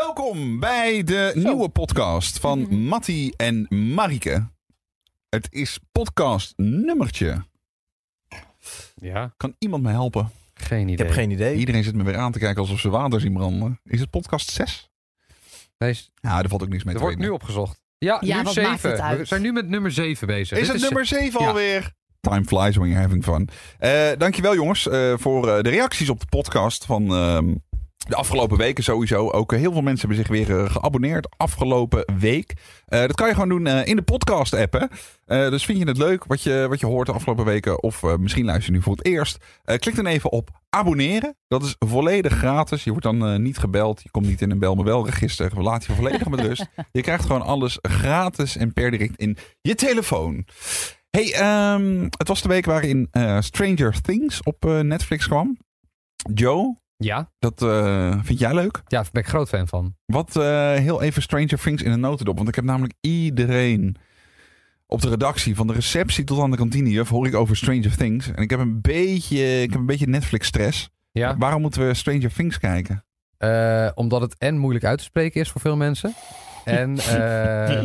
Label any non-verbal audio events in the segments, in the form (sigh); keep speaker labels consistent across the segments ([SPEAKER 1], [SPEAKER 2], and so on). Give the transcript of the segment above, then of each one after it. [SPEAKER 1] Welkom bij de nieuwe podcast
[SPEAKER 2] Mhm.
[SPEAKER 1] van Mattie en Marike. Het is podcast nummertje.
[SPEAKER 3] Ja,
[SPEAKER 1] Kan iemand me helpen?
[SPEAKER 3] geen
[SPEAKER 2] Ik
[SPEAKER 3] idee.
[SPEAKER 2] heb geen idee.
[SPEAKER 1] Iedereen zit me weer aan te kijken alsof ze water zien branden. Is het podcast 6?
[SPEAKER 3] Nee, is-
[SPEAKER 1] Ja, daar valt ook niks mee
[SPEAKER 3] er
[SPEAKER 1] te
[SPEAKER 3] wordt nu
[SPEAKER 1] weten.
[SPEAKER 3] opgezocht. Ja,
[SPEAKER 4] Ja,
[SPEAKER 3] nu
[SPEAKER 4] wat maakt het
[SPEAKER 3] 7. We
[SPEAKER 4] uit?
[SPEAKER 3] zijn nu met nummer 7 bezig.
[SPEAKER 1] Is
[SPEAKER 3] Dit
[SPEAKER 1] het nummer 7
[SPEAKER 3] ja.
[SPEAKER 1] alweer? Time flies when you're having fun. Eh, dankjewel jongens eh, voor eh, de reacties op de podcast van ehm, de afgelopen weken sowieso. Ook eh, heel veel mensen hebben zich weer eh, geabonneerd afgelopen week. Eh, dat kan je gewoon doen eh, in de podcast app. Hè? Eh, dus vind je het leuk wat je, wat je hoort de afgelopen weken? Of eh, misschien luister je nu voor het eerst. Eh, klik dan even op abonneren. Dat is volledig gratis. Je wordt dan eh, niet gebeld. Je komt niet in een bel me wel register. We laten je volledig met rust. Je krijgt gewoon alles gratis en per direct in je telefoon. Hey, ehm, het was de week waarin eh, Stranger Things op eh, Netflix kwam. Joe,
[SPEAKER 3] Ja,
[SPEAKER 1] dat eh, vind jij leuk?
[SPEAKER 3] ja, daar ben ik groot fan van.
[SPEAKER 1] Wat eh, heel even Stranger Things in een notendop. Want ik heb namelijk iedereen op de redactie, van de receptie tot aan de kantinejuf, hoor ik over Stranger Things. En ik heb een beetje, ik heb een beetje Netflix-stress.
[SPEAKER 3] Ja,
[SPEAKER 1] Waarom moeten we Stranger Things kijken?
[SPEAKER 3] eh, omdat het en moeilijk uit te spreken is voor veel mensen. En eh, eh,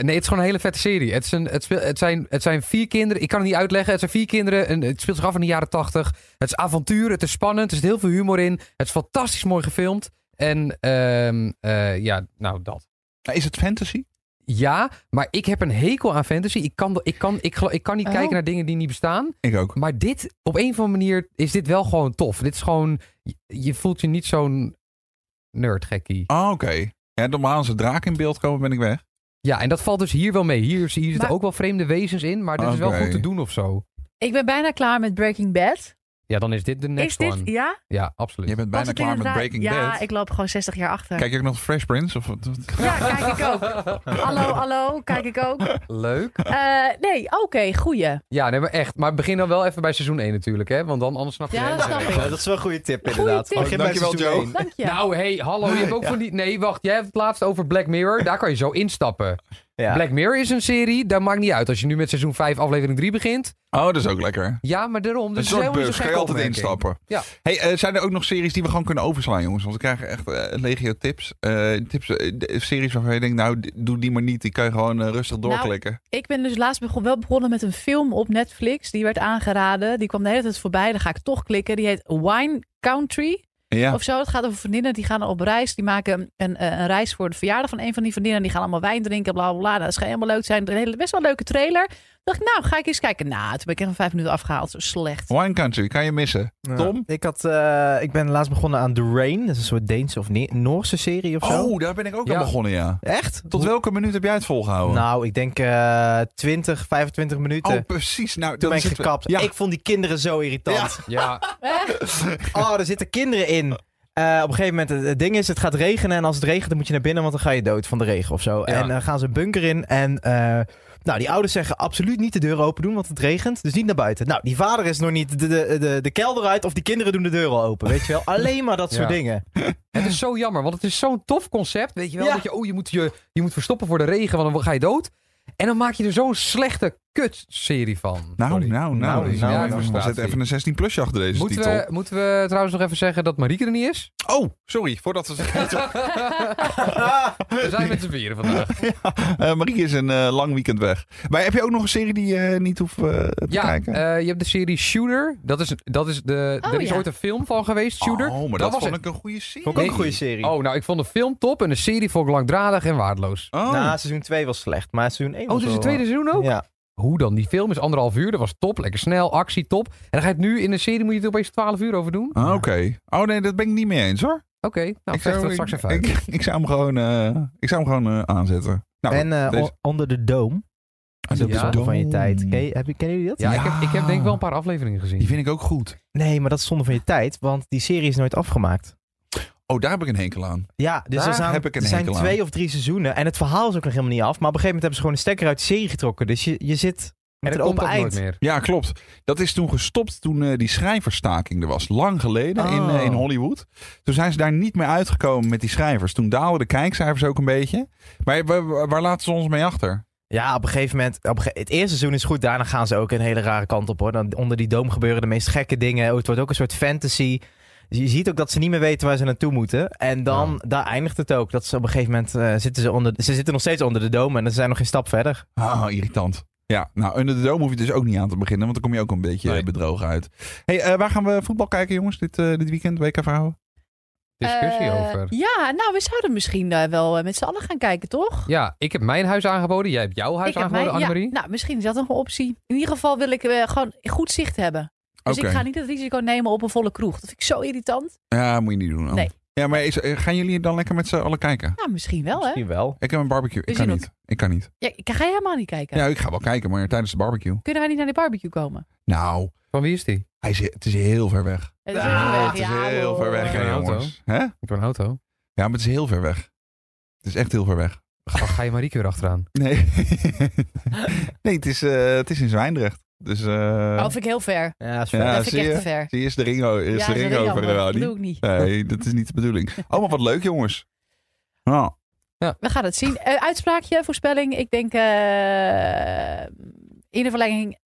[SPEAKER 3] nee, het is gewoon een hele vette serie. Het, is een, het, speel- het, zijn, het zijn vier kinderen. Ik kan het niet uitleggen. Het zijn vier kinderen. En het speelt zich af in de jaren tachtig. Het is avontuur. Het is spannend. Er zit heel veel humor in. Het is fantastisch mooi gefilmd. En ehm, eh, ja, nou dat.
[SPEAKER 1] Nou, Is het fantasy?
[SPEAKER 3] Ja, maar ik heb een hekel aan fantasy. Ik kan, ik kan, ik gelo- ik kan niet
[SPEAKER 1] Oh.
[SPEAKER 3] kijken naar dingen die niet bestaan.
[SPEAKER 1] Ik ook.
[SPEAKER 3] Maar dit, op een of andere manier, is dit wel gewoon tof. Dit is gewoon, je, je voelt je niet zo'n nerdgekkie.
[SPEAKER 1] Ah, oké. En normaal als er draken in beeld komen, ben ik weg.
[SPEAKER 3] Ja, en dat valt dus hier wel mee. Hier, hier zitten
[SPEAKER 4] Maar-
[SPEAKER 3] ook wel vreemde wezens in, maar dit is wel
[SPEAKER 1] Oké.
[SPEAKER 3] goed te doen of zo.
[SPEAKER 4] Ik ben bijna klaar met Breaking Bad.
[SPEAKER 3] Ja, dan is dit de next
[SPEAKER 4] is dit,
[SPEAKER 3] one.
[SPEAKER 4] ja? Was
[SPEAKER 3] Ja, absoluut.
[SPEAKER 1] Je bent bijna
[SPEAKER 4] het
[SPEAKER 1] klaar met
[SPEAKER 4] inderdaad-
[SPEAKER 1] Breaking
[SPEAKER 4] ja,
[SPEAKER 1] Bad.
[SPEAKER 4] ik loop gewoon 60 jaar achter.
[SPEAKER 1] Kijk je ook nog Fresh Prince? Of, wat- wat-
[SPEAKER 4] Ja, kijk ik ook. hallo, hallo, kijk ik
[SPEAKER 1] (laughs)
[SPEAKER 4] ook.
[SPEAKER 3] Leuk.
[SPEAKER 4] Eh, nee, oké, goeie.
[SPEAKER 3] Ja, nee, maar echt. Maar begin dan wel even bij seizoen 1 natuurlijk, hè? Want dan anders snap je
[SPEAKER 4] Ja,
[SPEAKER 3] de hele
[SPEAKER 4] dat snap
[SPEAKER 3] serie.
[SPEAKER 4] ik.
[SPEAKER 2] Ja, dat is wel een goede tip
[SPEAKER 4] Goeie
[SPEAKER 2] inderdaad. Oh,
[SPEAKER 4] tip.
[SPEAKER 2] Begin bij
[SPEAKER 1] Dankjewel,
[SPEAKER 2] seizoen
[SPEAKER 1] Joe.
[SPEAKER 2] één.
[SPEAKER 4] Dank je.
[SPEAKER 3] Nou, hey, hallo. Je hebt ook van die... Nee, wacht. Jij hebt het laatst over Black Mirror. Daar kan je zo instappen.
[SPEAKER 2] Ja.
[SPEAKER 3] Black Mirror is een serie, dat maakt niet uit. Als je nu met seizoen 5, aflevering 3 begint.
[SPEAKER 1] Oh, dat is ook lekker.
[SPEAKER 3] Ja, maar daarom.
[SPEAKER 1] Een
[SPEAKER 3] Dus
[SPEAKER 1] soort
[SPEAKER 3] helemaal niet
[SPEAKER 1] bus,
[SPEAKER 3] zo
[SPEAKER 1] ga
[SPEAKER 3] gek
[SPEAKER 1] je altijd
[SPEAKER 3] opmerking.
[SPEAKER 1] instappen.
[SPEAKER 3] Ja.
[SPEAKER 1] Hey, eh, zijn er ook nog series die we gewoon kunnen overslaan, jongens? Want we krijgen echt eh, legio tips. Eh, tips eh, de- series waarvan je denkt, nou, d- doe die maar niet. Die kan je gewoon eh, rustig
[SPEAKER 4] Nou,
[SPEAKER 1] doorklikken.
[SPEAKER 4] Ik ben dus laatst begon, wel begonnen met een film op Netflix. Die werd aangeraden. Die kwam de hele tijd voorbij. Dan ga ik toch klikken. Die heet Wine Country
[SPEAKER 1] ja.
[SPEAKER 4] of zo. Het gaat over vriendinnen. Die gaan op reis. Die maken een, een, eh, een reis voor de verjaardag van een van die vriendinnen. Die gaan allemaal wijn drinken. Bla bla bla. Nou, Dat schijnt helemaal leuk te zijn. Een hele, best wel een leuke trailer. Toen dacht ik, nou ga ik eens kijken. Nou, toen ben ik echt van vijf minuten afgehaald. Zo slecht.
[SPEAKER 1] Wine Country, kan je missen.
[SPEAKER 2] Ja.
[SPEAKER 1] Tom?
[SPEAKER 2] Ik, had, eh, ik ben laatst begonnen aan The Rain. Dat is een soort Deense of Ne- Noorse serie of zo.
[SPEAKER 1] Oh, daar ben ik ook
[SPEAKER 3] Ja.
[SPEAKER 1] aan begonnen, ja.
[SPEAKER 2] Echt?
[SPEAKER 1] Tot welke minuut heb jij het volgehouden?
[SPEAKER 2] Nou, ik denk eh 20, 25 minuten.
[SPEAKER 1] oh, precies. Nou,
[SPEAKER 2] Toen
[SPEAKER 1] dan
[SPEAKER 2] ben ik
[SPEAKER 1] zitten we-
[SPEAKER 2] gekapt.
[SPEAKER 1] Ja.
[SPEAKER 2] Ik vond die kinderen zo irritant.
[SPEAKER 3] Ja,
[SPEAKER 2] (laughs) Oh, er zitten kinderen in. Eh, op een gegeven moment, het- het ding is, het gaat regenen. En als het regent, dan moet je naar binnen, want dan ga je dood van de regen of zo. En dan gaan ze een bunker in. En eh, nou, die ouders zeggen absoluut niet de deur open doen, want het regent. Dus niet naar buiten. Nou, die vader is nog niet de, de, de, de kelder uit of die kinderen doen de deur al open. Weet je
[SPEAKER 1] (laughs)
[SPEAKER 2] wel? Alleen maar dat soort
[SPEAKER 3] Ja.
[SPEAKER 2] dingen.
[SPEAKER 3] (laughs) het is zo jammer, want het is zo'n tof concept. Weet je wel,
[SPEAKER 2] Ja.
[SPEAKER 3] dat je, oh, je moet je, je moet verstoppen voor de regen, want dan ga je dood. En dan maak je er zo'n slechte kutserie van.
[SPEAKER 1] Nou,
[SPEAKER 3] Sorry.
[SPEAKER 1] nou, nou,
[SPEAKER 2] Nou,
[SPEAKER 1] deze-
[SPEAKER 2] nou,
[SPEAKER 1] ja,
[SPEAKER 2] nou,
[SPEAKER 1] we zetten even een 16 plusje achter deze
[SPEAKER 3] Moeten
[SPEAKER 1] titel.
[SPEAKER 3] we, moeten we trouwens nog even zeggen dat Marieke er niet is?
[SPEAKER 1] Oh, sorry, voordat (laughs) we het
[SPEAKER 3] (laughs) We zijn met z'n vieren vandaag.
[SPEAKER 1] Eh, Marie is een eh, lang weekend weg. Maar heb je ook nog een serie die je niet hoeft eh, te
[SPEAKER 3] Ja,
[SPEAKER 1] kijken?
[SPEAKER 3] eh, je hebt de serie Shooter. Dat is, dat is de,
[SPEAKER 4] Oh,
[SPEAKER 3] er is
[SPEAKER 4] ja.
[SPEAKER 3] ooit een film van geweest, Shooter.
[SPEAKER 1] Oh, maar dat,
[SPEAKER 3] was
[SPEAKER 1] vond
[SPEAKER 3] het.
[SPEAKER 1] ik een goede serie.
[SPEAKER 2] Vond ik ook een goede serie.
[SPEAKER 3] Oh, nou, ik vond de film top en de serie vond ik langdradig en waardeloos.
[SPEAKER 1] Oh.
[SPEAKER 2] Nou, seizoen 2 was slecht, maar seizoen 1
[SPEAKER 3] Oh,
[SPEAKER 2] was
[SPEAKER 3] dus
[SPEAKER 2] wel- eh,
[SPEAKER 3] het tweede seizoen ook?
[SPEAKER 2] Ja.
[SPEAKER 3] Hoe dan? Die film is anderhalf uur, dat was top. Lekker snel, actie, top. En dan ga je het nu in een serie, moet je het opeens twaalf uur over doen?
[SPEAKER 1] Ah, Oké. Oh nee, dat ben ik niet mee eens hoor.
[SPEAKER 3] Oké, nou, ik
[SPEAKER 1] zou-
[SPEAKER 3] zeg dat straks even uit.
[SPEAKER 1] ik, ik zou hem gewoon, eh, ik zou hem gewoon eh, aanzetten. Nou,
[SPEAKER 2] en eh,
[SPEAKER 1] deze-
[SPEAKER 2] on- Onder de Dome. Dat is ook
[SPEAKER 3] Ja.
[SPEAKER 2] zo'n zonde van je
[SPEAKER 1] Dome.
[SPEAKER 2] tijd. Ken je- heb je- kennen jullie dat?
[SPEAKER 3] Ja,
[SPEAKER 1] Ja.
[SPEAKER 3] Ik, heb, ik heb denk ik wel een paar afleveringen
[SPEAKER 1] Die
[SPEAKER 3] gezien.
[SPEAKER 1] vind ik ook goed.
[SPEAKER 2] Nee, maar dat is zonde van je tijd, want die serie is nooit afgemaakt.
[SPEAKER 1] Oh, daar heb ik een hekel aan.
[SPEAKER 2] Ja, dus
[SPEAKER 3] Daar
[SPEAKER 2] er, zijn,
[SPEAKER 1] heb ik een
[SPEAKER 2] er zijn
[SPEAKER 1] hekel aan.
[SPEAKER 2] twee of drie seizoenen. En het verhaal is ook nog helemaal niet af. Maar op een gegeven moment hebben ze gewoon een stekker uit de serie getrokken. Dus je, je zit met
[SPEAKER 3] En
[SPEAKER 2] een
[SPEAKER 3] dat komt
[SPEAKER 2] open
[SPEAKER 3] ook nooit
[SPEAKER 2] eind.
[SPEAKER 3] meer.
[SPEAKER 1] Ja, klopt. Dat is toen gestopt toen eh, die schrijversstaking er was. Lang geleden in,
[SPEAKER 2] Oh.
[SPEAKER 1] eh, in Hollywood. Toen zijn ze daar niet meer uitgekomen met die schrijvers. Toen daalden de kijkcijfers ook een beetje. Maar waar, waar laten ze ons mee achter?
[SPEAKER 2] Ja, op een gegeven moment. Op een gege- het eerste seizoen is goed. Daarna Oh, gaan ze ook een hele rare kant op hoor. Dan, onder die doom gebeuren de meest gekke dingen. Het wordt ook een soort fantasy. Dus je ziet ook dat ze niet meer weten waar ze naartoe moeten. En dan, daar eindigt het ook. Dat ze op een gegeven moment eh, zitten ze onder... Ze zitten nog steeds onder de dome en ze zijn nog geen stap verder.
[SPEAKER 1] Ah, irritant. Ja, nou, Under the Dome hoef je dus ook niet aan te beginnen, want dan kom je ook een beetje
[SPEAKER 3] Nee.
[SPEAKER 1] eh, bedrogen uit. hey, eh, waar gaan we voetbal kijken, jongens, dit, eh, dit weekend? WK verhouden?
[SPEAKER 3] Discussie
[SPEAKER 4] Eh,
[SPEAKER 3] over.
[SPEAKER 4] Ja, nou, we zouden misschien eh, wel eh, met z'n allen gaan kijken, toch?
[SPEAKER 3] Ja, ik heb mijn huis aangeboden. Jij hebt jouw huis
[SPEAKER 4] Ik heb
[SPEAKER 3] aangeboden,
[SPEAKER 4] mij- ja,
[SPEAKER 3] Annemarie.
[SPEAKER 4] nou, misschien is dat nog een optie. In ieder geval wil ik eh, gewoon goed zicht hebben. Dus
[SPEAKER 1] Oké.
[SPEAKER 4] ik ga niet het risico nemen op een volle kroeg. Dat vind ik zo irritant.
[SPEAKER 1] Ja, moet je niet doen. Ant.
[SPEAKER 4] Nee.
[SPEAKER 1] Ja, maar is- eh, gaan jullie dan lekker met z'n allen kijken?
[SPEAKER 4] Nou, misschien wel, hè?
[SPEAKER 2] Misschien wel.
[SPEAKER 1] Ik heb een barbecue. Ik
[SPEAKER 4] We
[SPEAKER 1] kan
[SPEAKER 4] zien
[SPEAKER 1] niet. Ik kan niet.
[SPEAKER 4] Ja, ik ga helemaal niet kijken.
[SPEAKER 1] Ja, ik ga wel kijken, maar tijdens de barbecue.
[SPEAKER 4] Kunnen wij niet naar die barbecue komen?
[SPEAKER 1] Nou,
[SPEAKER 3] Van wie is die?
[SPEAKER 1] hij is, het is heel ver weg.
[SPEAKER 4] Het is
[SPEAKER 1] Ah,
[SPEAKER 4] heel ver weg,
[SPEAKER 1] het is
[SPEAKER 4] ja,
[SPEAKER 1] heel
[SPEAKER 4] hoor.
[SPEAKER 1] ver weg,
[SPEAKER 3] Geen
[SPEAKER 1] hè,
[SPEAKER 3] auto.
[SPEAKER 1] jongens. Hè?
[SPEAKER 3] Ik heb een auto.
[SPEAKER 1] Ja, maar het is heel ver weg. Het is echt heel ver weg.
[SPEAKER 3] Dan ga je Marieke weer achteraan.
[SPEAKER 1] (laughs) Nee, nee het, is, eh, het is in Zwijndrecht. Dus eh,
[SPEAKER 4] Oh, vind ik heel ver.
[SPEAKER 2] Ja, dat is ver.
[SPEAKER 1] Ja.
[SPEAKER 4] dat vind ik
[SPEAKER 1] zie
[SPEAKER 4] echt
[SPEAKER 1] je?
[SPEAKER 4] te ver.
[SPEAKER 1] zie je, is de ring, o- is de
[SPEAKER 4] dat
[SPEAKER 1] ring
[SPEAKER 4] is
[SPEAKER 1] over.
[SPEAKER 4] jammer.
[SPEAKER 1] eh,
[SPEAKER 4] Dat
[SPEAKER 1] niet.
[SPEAKER 4] doe ik niet.
[SPEAKER 1] Nee, dat is niet de
[SPEAKER 4] (laughs)
[SPEAKER 1] bedoeling. Oh, maar wat leuk, jongens. Nou,
[SPEAKER 4] We gaan het zien. Eh, uitspraakje, voorspelling. Ik denk eh, in de verlenging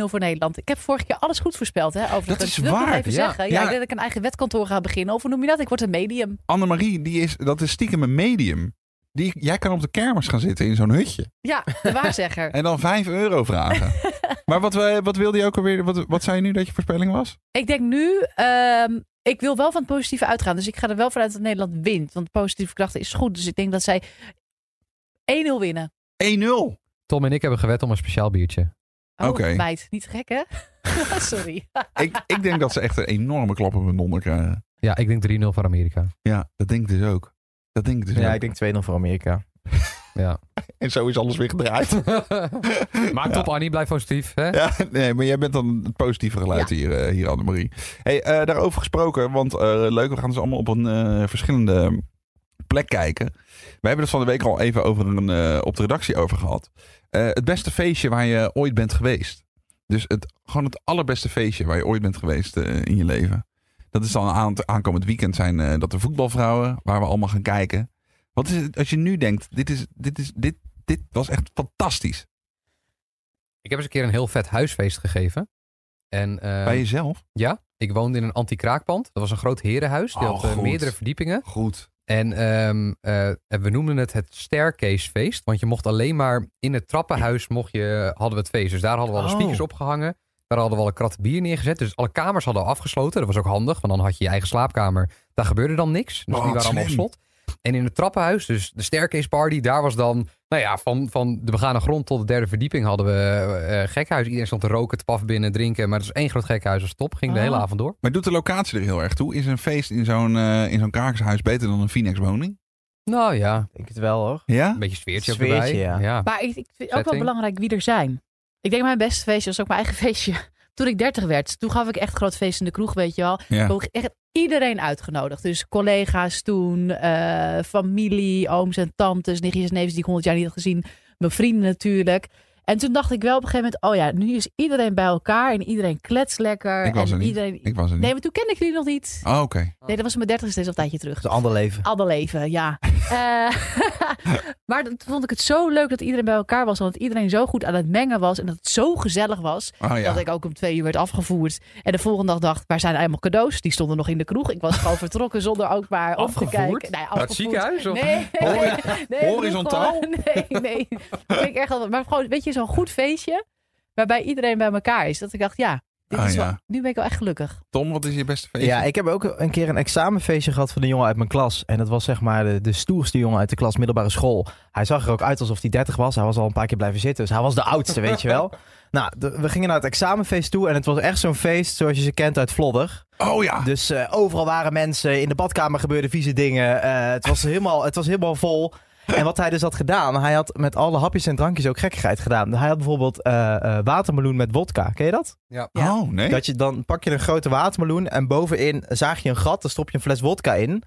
[SPEAKER 4] 1-0 voor Nederland. Ik heb vorige keer alles goed voorspeld. Hè, overigens.
[SPEAKER 1] Dat is
[SPEAKER 4] wil ik nog
[SPEAKER 1] waar,
[SPEAKER 4] even
[SPEAKER 3] ja.
[SPEAKER 4] zeggen. Ja,
[SPEAKER 1] Ja.
[SPEAKER 4] Ik denk dat ik een eigen wetkantoor ga beginnen. Of hoe noem je dat? Ik word een medium.
[SPEAKER 1] Annemarie, die is, dat is stiekem een medium. Die, jij kan op de kermis gaan zitten in zo'n hutje.
[SPEAKER 4] Ja,
[SPEAKER 1] (laughs)
[SPEAKER 4] de waarzegger.
[SPEAKER 1] En dan 5 euro vragen. maar wat, eh, wat wilde je ook alweer? Wat, wat zei je nu dat je voorspelling was?
[SPEAKER 4] ik denk nu... ehm, ik wil wel van het positieve uitgaan. Dus ik ga er wel vanuit dat Nederland wint. Want positieve kracht is goed. Dus ik denk dat zij 1-0 winnen.
[SPEAKER 1] 1-0.
[SPEAKER 3] Tom en ik hebben gewet om een speciaal biertje.
[SPEAKER 4] Oh,
[SPEAKER 1] Oké.
[SPEAKER 4] meid. Niet gek, hè? (laughs) Sorry.
[SPEAKER 1] Ik, ik denk dat ze echt een enorme klap op hun donder krijgen.
[SPEAKER 3] Ja, ik denk 3-0 voor Amerika.
[SPEAKER 1] Ja, dat denk ik dus ook. Dat denk ik dus
[SPEAKER 2] Ja,
[SPEAKER 1] ook.
[SPEAKER 2] ik denk 2-0 voor Amerika.
[SPEAKER 3] (laughs) Ja.
[SPEAKER 1] En zo is alles weer gedraaid.
[SPEAKER 3] (laughs) Maak
[SPEAKER 1] Ja.
[SPEAKER 3] top, Annie. Blijf positief. Hè?
[SPEAKER 1] Ja, (laughs) nee, maar jij bent dan het positieve geluid hier, eh, hier Annemarie. Hey, eh, daarover gesproken, want eh, leuk, we gaan dus allemaal op een eh, verschillende plek kijken. We hebben het van de week al even over een, eh, op de redactie over gehad. Eh, het beste feestje waar je ooit bent geweest. Dus het, gewoon het allerbeste feestje waar je ooit bent geweest eh, in je leven. Dat is dan aan het aankomend weekend zijn eh, dat de voetbalvrouwen, waar we allemaal gaan kijken. Wat is het als je nu denkt, dit, is, dit, is, dit, dit was echt fantastisch.
[SPEAKER 3] Ik heb eens een keer een heel vet huisfeest gegeven. En, eh,
[SPEAKER 1] Bij jezelf?
[SPEAKER 3] Ja, ik woonde in een anti-kraakpand. Dat was een groot herenhuis. Die
[SPEAKER 1] Oh,
[SPEAKER 3] had eh,
[SPEAKER 1] goed.
[SPEAKER 3] meerdere verdiepingen.
[SPEAKER 1] Goed.
[SPEAKER 3] En ehm, eh, en we noemden het het staircasefeest. Want je mocht alleen maar in het trappenhuis mocht je, hadden we het feest. Dus daar hadden we alle
[SPEAKER 2] Oh.
[SPEAKER 3] speakers opgehangen. Daar hadden we alle kratten bier neergezet. Dus alle kamers hadden we afgesloten. Dat was ook handig, want dan had je je eigen slaapkamer. Daar gebeurde dan niks. Dus
[SPEAKER 1] Oh,
[SPEAKER 3] die
[SPEAKER 1] wat
[SPEAKER 3] waren allemaal op
[SPEAKER 1] slim.
[SPEAKER 3] slot. En in het trappenhuis, dus de staircase party, daar was dan, nou ja, van, van de begane grond tot de derde verdieping hadden we eh, eh, gekhuis. Iedereen stond te roken, te paf binnen, drinken. Maar het was één groot gekhuis, als top. Ging de
[SPEAKER 4] Oh.
[SPEAKER 3] hele avond door.
[SPEAKER 1] Maar doet de locatie er heel erg toe? Is een feest in zo'n eh, in zo'n krakershuis beter dan een Phoenix woning?
[SPEAKER 3] Nou ja,
[SPEAKER 2] Ik denk het wel hoor.
[SPEAKER 1] Ja?
[SPEAKER 3] een beetje sfeertje, ook
[SPEAKER 2] Sfeertje,
[SPEAKER 3] erbij.
[SPEAKER 2] ja.
[SPEAKER 4] Maar ik, ik vind ook wel
[SPEAKER 3] Setting.
[SPEAKER 4] belangrijk wie er zijn. Ik denk mijn beste feestje was ook mijn eigen (laughs) feestje. Toen ik 30 werd, toen gaf ik echt groot feest in de kroeg, weet je wel.
[SPEAKER 1] Ja.
[SPEAKER 4] Ook echt iedereen uitgenodigd. Dus collega's toen, eh, familie, ooms en tantes, nichtjes en neefjes die ik 100 jaar niet had gezien. Mijn vrienden natuurlijk. En toen dacht ik wel op een gegeven moment, oh ja, nu is iedereen bij elkaar en iedereen klets lekker.
[SPEAKER 1] Ik was
[SPEAKER 4] en
[SPEAKER 1] er niet.
[SPEAKER 4] Iedereen...
[SPEAKER 1] Ik was er niet.
[SPEAKER 4] Nee, maar toen kende ik jullie nog niet.
[SPEAKER 1] Oh, Oké.
[SPEAKER 4] Nee, dat was mijn 30 steeds al een tijdje terug.
[SPEAKER 2] Het is een ander leven.
[SPEAKER 4] Ander leven, ja. (laughs) Eh, maar toen vond ik het zo leuk dat iedereen bij elkaar was. Want iedereen zo goed aan het mengen was. En dat het zo gezellig was.
[SPEAKER 1] Oh ja.
[SPEAKER 4] Dat ik ook om twee uur werd afgevoerd. En de volgende dag dacht, waar zijn eigenlijk mijn cadeaus? Die stonden nog in de kroeg.
[SPEAKER 1] (laughs)
[SPEAKER 4] Ik was gewoon vertrokken zonder ook maar op te
[SPEAKER 3] Afgevoerd?
[SPEAKER 4] kijken. Nee,
[SPEAKER 3] Naar het ziekenhuis? Of?
[SPEAKER 4] Nee,
[SPEAKER 1] (laughs)
[SPEAKER 4] nee, nee, nee, (laughs) nee,
[SPEAKER 1] Horizontaal?
[SPEAKER 4] ik bedoel gewoon- (laughs) Nee, nee. Dat vind ik echt altijd- maar gewoon, weet je, zo'n goed feestje. Waarbij iedereen bij elkaar is. Dat ik dacht, ja, dit
[SPEAKER 1] Ah,
[SPEAKER 4] is wel-
[SPEAKER 1] ja.
[SPEAKER 4] nu ben ik wel echt gelukkig.
[SPEAKER 1] Tom, wat is je beste feestje?
[SPEAKER 2] Ja, ik heb ook een keer een examenfeestje gehad van een jongen uit mijn klas. En dat was zeg maar de, de stoerste jongen uit de klas middelbare school. Hij zag er ook uit alsof hij 30 was. Hij was al een paar keer blijven zitten. Dus hij was de oudste, weet je
[SPEAKER 1] (laughs)
[SPEAKER 2] wel. Nou, de- we gingen naar het examenfeest toe. En het was echt zo'n feest zoals je ze kent uit Vlodder.
[SPEAKER 1] Oh ja.
[SPEAKER 2] Dus eh, overal waren mensen. In de badkamer gebeurden vieze dingen. Eh, het, was helemaal, het was helemaal vol. En wat hij dus had gedaan, hij had met alle hapjes en drankjes ook gekkigheid gedaan. Hij had bijvoorbeeld eh, eh, watermeloen met wodka. Ken je dat?
[SPEAKER 4] Ja.
[SPEAKER 1] Oh nee.
[SPEAKER 2] Dat je, dan pak je een grote watermeloen en bovenin zaag je een gat, dan stop je een fles wodka in.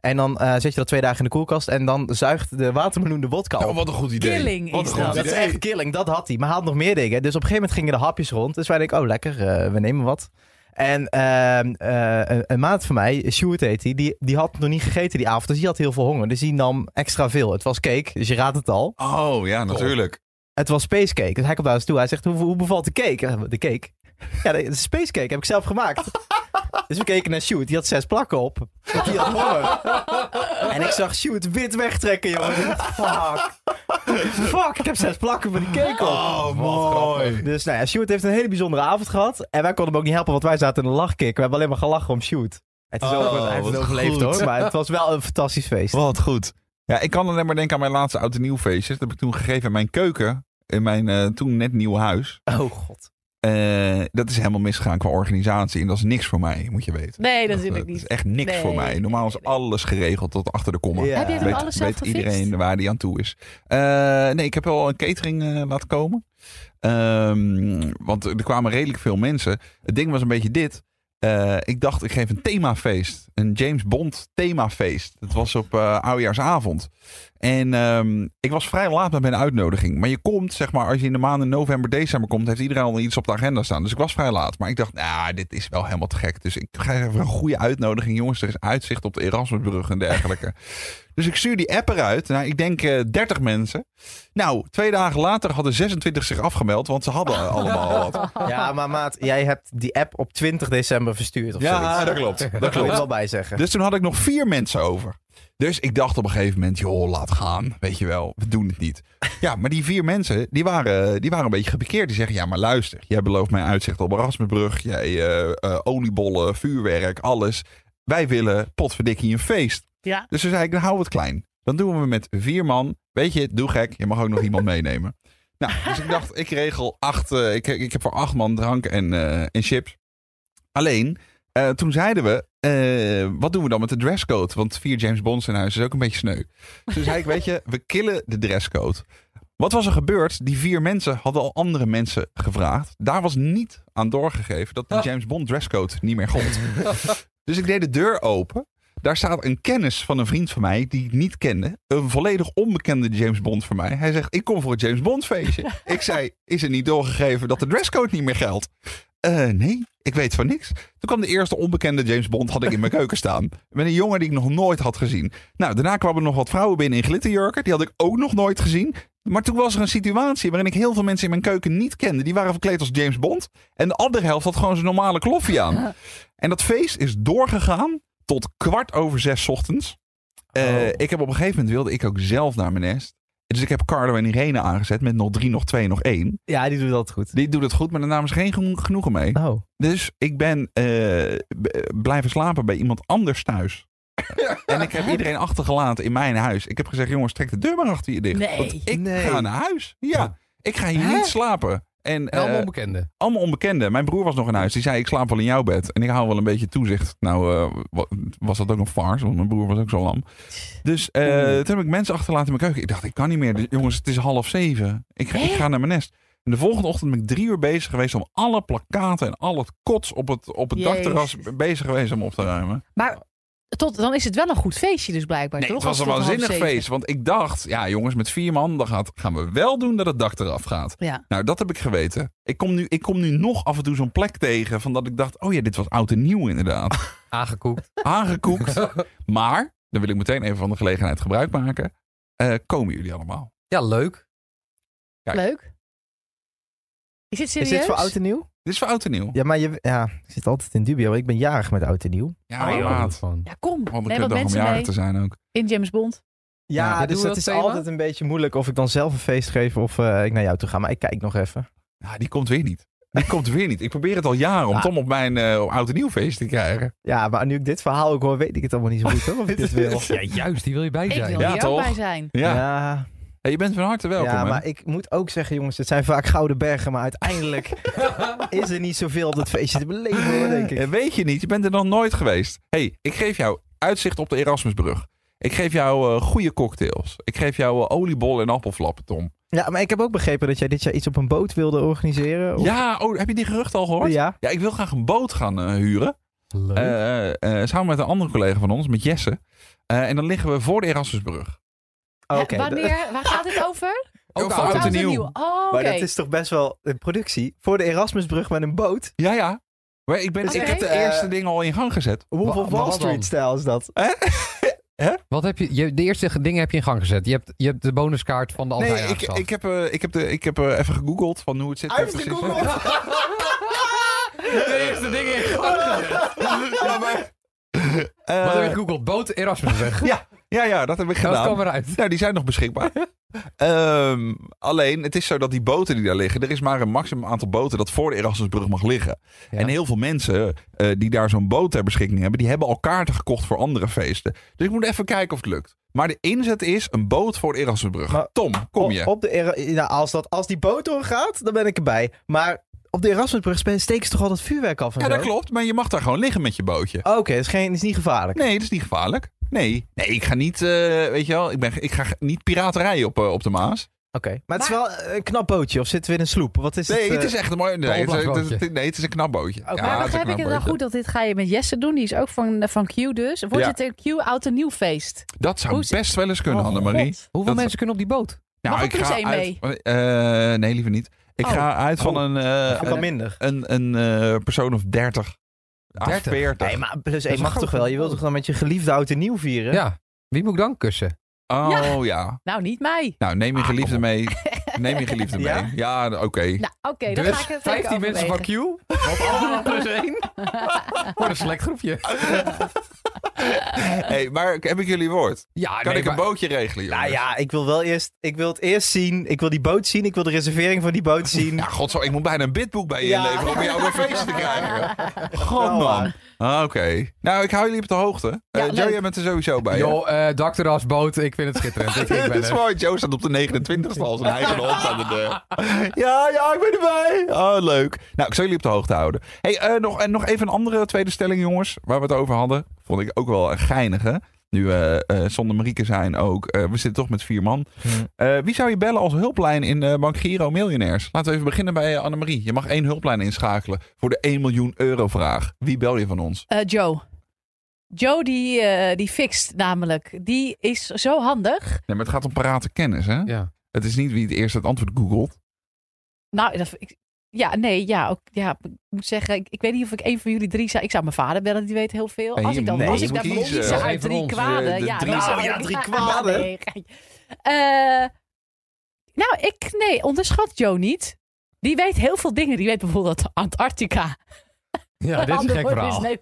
[SPEAKER 2] En dan eh, zet je dat twee dagen in de koelkast en dan zuigt de watermeloen de wodka
[SPEAKER 1] Oh,
[SPEAKER 2] op.
[SPEAKER 1] wat een goed idee.
[SPEAKER 4] Killing
[SPEAKER 1] wat
[SPEAKER 4] is
[SPEAKER 1] een
[SPEAKER 4] dat.
[SPEAKER 1] goed
[SPEAKER 2] dat is
[SPEAKER 1] idee.
[SPEAKER 2] echt killing, dat had hij. Maar hij had nog meer dingen. Dus op een gegeven moment gingen de hapjes rond. Dus wij denken, oh lekker, eh, we nemen wat. En ehm, eh, een, een maat van mij, Sjoerd heet die, die, die had nog niet gegeten die avond. Dus die had heel veel honger. Dus die nam extra veel. Het was cake, dus je raadt het al.
[SPEAKER 1] Oh ja, natuurlijk.
[SPEAKER 2] Het was spacecake. Dus hij
[SPEAKER 1] (laughs)
[SPEAKER 2] komt naar ons toe. Hij zegt, hoe, hoe bevalt de cake? Eh, De cake? Ja, de, de spacecake heb ik zelf gemaakt. Dus we keken naar Sjoerd, die had zes plakken op. Die had honger. En ik zag Sjoerd wit wegtrekken, jongen. Ik dacht, Fuck. Fuck, ik heb zes plakken van die cake op.
[SPEAKER 1] Oh, mooi.
[SPEAKER 2] Dus nou ja, Sjoerd heeft een hele bijzondere avond gehad. En wij konden hem ook niet helpen, want wij zaten in een lachkick. We hebben alleen maar gelachen om Sjoerd. Het is
[SPEAKER 1] Oh,
[SPEAKER 2] over, hij heeft het
[SPEAKER 1] wat
[SPEAKER 2] overleefd
[SPEAKER 1] goed.
[SPEAKER 2] hoor, maar het was wel oh, een fantastisch feest.
[SPEAKER 1] Wat goed. Ja, ik kan alleen maar denken aan mijn laatste oud en nieuw feestjes. Dat heb ik toen gegeven in mijn keuken. In mijn eh, toen net nieuwe huis.
[SPEAKER 2] Oh god.
[SPEAKER 1] Eh, dat is helemaal misgegaan qua organisatie. En dat is niks voor mij, moet je weten.
[SPEAKER 4] Nee,
[SPEAKER 1] dat,
[SPEAKER 4] natuurlijk
[SPEAKER 1] dat is
[SPEAKER 4] niet.
[SPEAKER 1] echt niks
[SPEAKER 4] Nee,
[SPEAKER 1] voor mij. Normaal is
[SPEAKER 4] nee, nee.
[SPEAKER 1] alles geregeld tot achter de komma.
[SPEAKER 2] Ja.
[SPEAKER 4] Heb jij
[SPEAKER 1] Weet,
[SPEAKER 4] dan alles zelf
[SPEAKER 1] weet
[SPEAKER 4] gefixt?
[SPEAKER 1] iedereen waar die aan toe is. Eh, nee, ik heb wel een catering eh, laten komen. Ehm, want er kwamen redelijk veel mensen. Het ding was een beetje dit. Eh, ik dacht, ik geef een themafeest. Een James Bond themafeest. Dat was op eh, oudjaarsavond. En ehm, ik was vrij laat met mijn uitnodiging. Maar je komt, zeg maar, als je in de maanden november, december komt, heeft iedereen al iets op de agenda staan. Dus ik was vrij laat. Maar ik dacht, nou, dit is wel helemaal te gek. Dus ik ga even een goede uitnodiging. Jongens, er is uitzicht op de Erasmusbrug en dergelijke. Dus ik stuur die app eruit. Nou, ik denk eh 30 mensen. Nou, twee dagen later hadden 26 zich afgemeld, want ze hadden (laughs) allemaal wat.
[SPEAKER 2] Ja, maar maat, jij hebt die app op 20 december verstuurd of zoiets.
[SPEAKER 1] Ja, dat
[SPEAKER 2] (laughs)
[SPEAKER 1] klopt. Dat
[SPEAKER 2] Daar wil ik
[SPEAKER 1] klopt.
[SPEAKER 2] wel bij zeggen.
[SPEAKER 1] Dus toen had ik nog vier mensen over. Dus ik dacht op een gegeven moment, joh, laat gaan. Weet je wel, we doen het niet. (laughs) Ja, maar die vier mensen, die waren, die waren een beetje geparkeerd. Die zeggen, ja, maar luister. Jij belooft mij uitzicht op Erasmusbrug. Jij eh, eh, oliebollen, vuurwerk, alles. Wij willen potverdikkie een feest.
[SPEAKER 4] Ja.
[SPEAKER 1] Dus toen zei ik, hou het klein. Dan doen we met vier man. Weet je, doe gek. Je mag ook nog iemand meenemen. Nou, dus ik dacht, ik regel acht. eh, ik, ik heb voor acht man drank en, eh, en chips. Alleen, eh, toen zeiden we, eh, wat doen we dan met de dresscode? Want vier James Bonds in huis is ook een beetje sneu. Dus toen zei ik, weet je, we killen de dresscode. Wat was er gebeurd? Die vier mensen hadden al andere mensen gevraagd. Daar was niet aan doorgegeven dat die James Bond dresscode niet meer gold. Dus ik deed de deur open. Daar staat een kennis van een vriend van mij die ik niet kende. Een volledig onbekende James Bond voor mij. Hij zegt, ik kom voor het James Bond feestje. ik zei, is er niet doorgegeven dat de dresscode niet meer geldt? Eh, nee, ik weet van niks. Toen kwam de eerste onbekende James Bond, had ik in mijn keuken staan. Met een jongen die ik nog nooit had gezien. Nou, daarna kwamen nog wat vrouwen binnen in glitterjurken. Die had ik ook nog nooit gezien. Maar toen was er een situatie waarin ik heel veel mensen in mijn keuken niet kende. Die waren verkleed als James Bond. En de andere helft had gewoon zijn normale kloffie aan. En dat feest is doorgegaan tot kwart over zes ochtends. Eh,
[SPEAKER 2] Oh.
[SPEAKER 1] Ik heb op een gegeven moment wilde ik ook zelf naar mijn nest. Dus ik heb Carlo en Irene aangezet met nog 3, nog 2, nog 1.
[SPEAKER 2] Ja, die doet altijd goed.
[SPEAKER 1] Die doet het goed, maar daar namen ze geen geno- genoegen mee.
[SPEAKER 2] Oh.
[SPEAKER 1] Dus ik ben eh, b- blijven slapen bij iemand anders thuis.
[SPEAKER 2] (laughs)
[SPEAKER 1] en ik heb iedereen achtergelaten in mijn huis. Ik heb gezegd, jongens, trek de deur maar achter je dicht.
[SPEAKER 4] Nee.
[SPEAKER 1] Want ik
[SPEAKER 2] Nee.
[SPEAKER 1] ga naar huis. Ja, ik ga hier
[SPEAKER 3] Hè?
[SPEAKER 1] niet slapen. En
[SPEAKER 3] En
[SPEAKER 1] eh,
[SPEAKER 3] allemaal onbekenden.
[SPEAKER 1] allemaal onbekenden. Mijn broer was nog in huis. Die zei, ik slaap wel in jouw bed. En ik hou wel een beetje toezicht. Nou, eh, wa- was dat ook een farce, want mijn broer was ook zo lam. Dus eh, toen heb ik mensen achterlaten in mijn keuken. Ik dacht, ik kan niet meer. Dus, jongens, het is half zeven. Ik ga, ik ga naar mijn nest. En de volgende ochtend ben ik drie uur bezig geweest om alle plakkaten en al het kots op het, op het
[SPEAKER 4] Jezus.
[SPEAKER 1] dakterras bezig geweest om op te ruimen.
[SPEAKER 4] Maar tot, dan is het wel een goed feestje dus blijkbaar,
[SPEAKER 1] Nee,
[SPEAKER 4] toch?
[SPEAKER 1] het was
[SPEAKER 4] Als
[SPEAKER 1] een
[SPEAKER 4] tot half
[SPEAKER 1] waanzinnig
[SPEAKER 4] zeven.
[SPEAKER 1] feest. Want ik dacht, ja jongens, met vier man dan gaat, gaan we wel doen dat het dak eraf gaat.
[SPEAKER 4] Ja.
[SPEAKER 1] Nou, dat heb ik geweten. Ik kom nu, ik kom nu nog af en toe zo'n plek tegen van dat ik dacht, oh ja, dit was oud en nieuw inderdaad.
[SPEAKER 3] Aangekoekt.
[SPEAKER 1] aangekoekt. maar, dan wil ik meteen even van de gelegenheid gebruik maken. Eh, komen jullie allemaal?
[SPEAKER 3] Ja, leuk.
[SPEAKER 1] Kijk.
[SPEAKER 4] Leuk. Is dit serieus?
[SPEAKER 2] Is dit voor oud en nieuw?
[SPEAKER 1] Dit is voor oud en nieuw.
[SPEAKER 2] Ja, maar je, ja, ik zit altijd in dubio. Ik ben jarig met oud en nieuw.
[SPEAKER 1] Ja,
[SPEAKER 4] Oh,
[SPEAKER 1] maar
[SPEAKER 4] joh.
[SPEAKER 1] laat.
[SPEAKER 3] Van.
[SPEAKER 4] Ja, kom.
[SPEAKER 1] Want Oh, ik
[SPEAKER 4] Neem
[SPEAKER 1] heb
[SPEAKER 4] wat
[SPEAKER 1] dag om
[SPEAKER 4] mensen
[SPEAKER 1] jarig
[SPEAKER 4] mee
[SPEAKER 1] te zijn ook.
[SPEAKER 4] in James Bond.
[SPEAKER 2] Ja,
[SPEAKER 3] Ja, doen
[SPEAKER 2] dus
[SPEAKER 3] we
[SPEAKER 2] dat
[SPEAKER 3] dat
[SPEAKER 2] is
[SPEAKER 3] thema?
[SPEAKER 2] altijd een beetje moeilijk of ik dan zelf een feest geef of eh, ik naar jou toe ga. Maar ik kijk nog even.
[SPEAKER 1] Ja, die komt weer niet. Die komt weer niet. Ik probeer het al jaren om
[SPEAKER 2] Ja.
[SPEAKER 1] Tom op mijn eh, op oud en nieuw feest te krijgen.
[SPEAKER 2] Ja, maar nu ik dit verhaal ook hoor, weet ik het allemaal
[SPEAKER 1] Oh,
[SPEAKER 2] niet zo goed hoor, of ik dit
[SPEAKER 1] (laughs)
[SPEAKER 2] wil.
[SPEAKER 3] Ja, juist. Die wil je bij
[SPEAKER 4] Ik
[SPEAKER 3] zijn.
[SPEAKER 4] wil
[SPEAKER 1] Ja,
[SPEAKER 4] hier
[SPEAKER 1] toch?
[SPEAKER 4] ook bij zijn.
[SPEAKER 1] Ja,
[SPEAKER 2] ja,
[SPEAKER 1] Hey, je bent van harte welkom.
[SPEAKER 2] ja,
[SPEAKER 1] hè?
[SPEAKER 2] maar ik moet ook zeggen, jongens, het zijn vaak gouden bergen, maar uiteindelijk
[SPEAKER 1] (laughs)
[SPEAKER 2] (laughs) is er niet zoveel op dat feestje te beleven, hoor, denk ik.
[SPEAKER 1] Eh, Weet je niet, je bent er nog nooit geweest. hey, ik geef jou uitzicht op de Erasmusbrug. Ik geef jou eh, goede cocktails. Ik geef jou eh, oliebollen en appelflappen, Tom.
[SPEAKER 2] Ja, maar ik heb ook begrepen dat jij dit jaar iets op een boot wilde organiseren. of-
[SPEAKER 1] Ja, oh, heb je die gerucht al gehoord?
[SPEAKER 2] ja.
[SPEAKER 1] Ja, ik wil graag een boot gaan eh, huren.
[SPEAKER 3] Leuk.
[SPEAKER 1] Eh, eh, eh, samen met een andere collega van ons, met Jesse. Eh, en dan liggen we voor de Erasmusbrug.
[SPEAKER 2] Oh, Oké.
[SPEAKER 4] Ja, wanneer? Waar gaat het over?
[SPEAKER 1] (laughs) Ook
[SPEAKER 4] Oud
[SPEAKER 1] oud en nieuw.
[SPEAKER 4] Oh, oké.
[SPEAKER 2] Maar dat is toch best wel een productie voor de Erasmusbrug met een boot.
[SPEAKER 1] Ja, ja. Maar ik, ben,
[SPEAKER 4] Dus
[SPEAKER 1] ik
[SPEAKER 4] oké.
[SPEAKER 1] heb de
[SPEAKER 2] Eh,
[SPEAKER 1] eerste dingen al in gang gezet.
[SPEAKER 2] Wolf
[SPEAKER 3] Wa-
[SPEAKER 2] of
[SPEAKER 3] maar
[SPEAKER 2] Wall
[SPEAKER 3] wat dan?
[SPEAKER 2] Street-stijl is
[SPEAKER 1] Eh,
[SPEAKER 2] dat.
[SPEAKER 3] Wat heb je, je- De eerste dingen heb je in gang gezet. Je hebt, je hebt de bonuskaart van de Altair
[SPEAKER 1] Nee, ik,
[SPEAKER 3] afgeschaft.
[SPEAKER 1] ik heb, eh, ik heb, de, ik heb eh, even gegoogeld van hoe het zit. eh, precies.
[SPEAKER 3] (laughs)
[SPEAKER 2] Uitgegoogeld.
[SPEAKER 3] de eerste dingen in gang gezet.
[SPEAKER 1] Eh,
[SPEAKER 3] Wat heb je gegoogeld? Boot Erasmus weg.
[SPEAKER 1] (laughs) ja, ja, dat heb ik
[SPEAKER 3] Dat
[SPEAKER 1] gedaan.
[SPEAKER 3] kwam eruit.
[SPEAKER 1] Nou, die zijn nog
[SPEAKER 3] (laughs)
[SPEAKER 1] beschikbaar. Ehm, alleen, het is zo dat die boten die daar liggen, er is maar een maximum aantal boten dat voor de Erasmusbrug mag liggen.
[SPEAKER 3] Ja.
[SPEAKER 1] En heel veel mensen eh, die daar zo'n boot ter beschikking hebben, die hebben al kaarten gekocht voor andere feesten. Dus ik moet even kijken of het lukt. Maar de inzet is een boot voor de Erasmusbrug.
[SPEAKER 2] Maar-
[SPEAKER 1] Tom, kom
[SPEAKER 2] Op-
[SPEAKER 1] je?
[SPEAKER 2] Op de, Era- ja, als, dat, als die boot doorgaat, dan ben ik erbij. Maar op de Erasmusbrug spe- steken ze toch al dat vuurwerk af en
[SPEAKER 1] ja,
[SPEAKER 2] zo?
[SPEAKER 1] dat klopt, maar je mag daar gewoon liggen met je bootje.
[SPEAKER 3] Oh,
[SPEAKER 2] Oké, dat is, geen- is niet gevaarlijk.
[SPEAKER 1] Nee, dat is niet gevaarlijk. Nee, nee ik ga niet, eh, weet je wel, ik, ben, ik ga niet piraterij op, eh, op de Maas.
[SPEAKER 2] Oké, maar het is wel eh, een knap bootje. Of zitten we in een sloep? Wat is
[SPEAKER 1] Nee,
[SPEAKER 2] het?
[SPEAKER 1] het
[SPEAKER 2] eh,
[SPEAKER 1] is echt een mooi. Nee, het,
[SPEAKER 3] opblaasbootje.
[SPEAKER 1] het- het- nee, het is een knap bootje.
[SPEAKER 2] Oké.
[SPEAKER 4] maar
[SPEAKER 1] het is een
[SPEAKER 4] begrijp ik
[SPEAKER 1] knap
[SPEAKER 4] het dan
[SPEAKER 1] bootje.
[SPEAKER 4] goed dat dit ga je met Jesse doen? Die is ook van, van Q dus. Wordt
[SPEAKER 1] Ja.
[SPEAKER 4] het een Q oud en nieuw feest?
[SPEAKER 1] Dat zou
[SPEAKER 4] Hoe is-
[SPEAKER 1] best wel eens kunnen,
[SPEAKER 4] Oh, God.
[SPEAKER 1] Annemarie.
[SPEAKER 3] Hoeveel
[SPEAKER 1] Dat- Nou,
[SPEAKER 3] mensen kunnen op die boot?
[SPEAKER 4] Mag ik er eens één
[SPEAKER 1] uit- Eh, nee, liever niet. Ik
[SPEAKER 4] Oh.
[SPEAKER 1] ga uit van een, eh,
[SPEAKER 2] ook wel minder.
[SPEAKER 1] een, een, eh, persoon of Ah, 30.
[SPEAKER 3] 30?
[SPEAKER 1] 40.
[SPEAKER 2] Nee, maar plus
[SPEAKER 3] is
[SPEAKER 2] één
[SPEAKER 3] een
[SPEAKER 2] mag
[SPEAKER 3] groot
[SPEAKER 2] toch wel? Je wilt
[SPEAKER 3] boot.
[SPEAKER 2] toch dan met je geliefde oud en nieuw vieren?
[SPEAKER 3] Ja. Wie moet ik dan kussen?
[SPEAKER 1] Oh ja.
[SPEAKER 4] Nou, niet mij.
[SPEAKER 1] Nou, neem je geliefde
[SPEAKER 4] (laughs)
[SPEAKER 1] mee. Neem je geliefde
[SPEAKER 2] Ja?
[SPEAKER 1] mee. Ja, oké.
[SPEAKER 4] Nou, oké, dan
[SPEAKER 3] dus
[SPEAKER 4] ga ik het
[SPEAKER 3] 15 mensen van Q.
[SPEAKER 4] (laughs)
[SPEAKER 3] Op allemaal plus één. Voor een select groepje.
[SPEAKER 1] Hey, maar heb ik jullie woord?
[SPEAKER 3] Ja,
[SPEAKER 1] Kan
[SPEAKER 3] nee,
[SPEAKER 1] ik een
[SPEAKER 3] maar-
[SPEAKER 1] bootje regelen, jongens?
[SPEAKER 2] Nou ja, ik wil wel eerst. Ik wil het eerst zien. Ik wil die boot zien. Ik wil de reservering van die
[SPEAKER 1] (laughs)
[SPEAKER 2] boot zien.
[SPEAKER 1] Ja, godzo, ik moet bijna een bidboek bij je
[SPEAKER 2] Ja.
[SPEAKER 1] inleveren om
[SPEAKER 2] (laughs)
[SPEAKER 1] jou een feest te krijgen.
[SPEAKER 2] Nou,
[SPEAKER 1] God, man.
[SPEAKER 2] eh,
[SPEAKER 1] Ah, Oké. Nou, ik hou jullie op de hoogte. Eh
[SPEAKER 4] leuk.
[SPEAKER 1] Joe, jij bent er sowieso bij. hè?
[SPEAKER 3] Yo, eh Dr. Asboot, ik vind het schitterend. ik, ik ben
[SPEAKER 1] (laughs) Het is
[SPEAKER 3] er.
[SPEAKER 1] mooi. Joe staat op de 29ste al (laughs) zijn eigen hond aan de
[SPEAKER 5] eh.
[SPEAKER 1] deur. Ja, ja, ik ben erbij. Oh, leuk. Nou, ik zal jullie op de hoogte houden. Hey, eh, nog, en nog even een andere tweede stelling, jongens. Waar we het over hadden. Vond ik ook wel een geinige. Nu eh, eh, zonder Marieke zijn ook. eh, we zitten toch met vier man.
[SPEAKER 2] Hmm.
[SPEAKER 1] Eh, wie zou je bellen als hulplijn in eh Bank Giro Miljonairs? Laten we even beginnen bij eh, Annemarie. Je mag één hulplijn inschakelen voor de 1 miljoen euro vraag. Wie bel je van ons?
[SPEAKER 4] Eh, Joe. Joe, die, eh, die fixt namelijk. Die is zo handig.
[SPEAKER 1] Nee, maar het gaat om parate kennis, hè?
[SPEAKER 3] Ja.
[SPEAKER 1] Het is niet wie het eerst het antwoord googelt.
[SPEAKER 4] Nou, dat, ik, ja, nee, ja, ook, ja. Ik moet zeggen, ik, ik weet niet of ik een van jullie drie zou... Ik zou mijn vader bellen, die weet heel veel.
[SPEAKER 1] Nee,
[SPEAKER 4] als ik dan,
[SPEAKER 2] nee,
[SPEAKER 4] als
[SPEAKER 2] je
[SPEAKER 4] ik
[SPEAKER 1] moet
[SPEAKER 4] dan moet
[SPEAKER 1] kiezen.
[SPEAKER 4] kiezen
[SPEAKER 3] Eén
[SPEAKER 4] uit
[SPEAKER 3] van
[SPEAKER 4] drie
[SPEAKER 3] ons,
[SPEAKER 4] kwaden.
[SPEAKER 1] eh, de
[SPEAKER 4] ja,
[SPEAKER 1] drie-
[SPEAKER 4] dan zou
[SPEAKER 2] Nou, ja,
[SPEAKER 4] ik-
[SPEAKER 2] drie kwaden.
[SPEAKER 4] Nee, ge- Eh, nou, ik, nee, onderschat Joe niet. Die weet heel veel dingen. Die weet bijvoorbeeld dat Antarctica...
[SPEAKER 3] ja, dit is een
[SPEAKER 4] Ander
[SPEAKER 3] gek
[SPEAKER 4] woord
[SPEAKER 3] verhaal.
[SPEAKER 4] nee,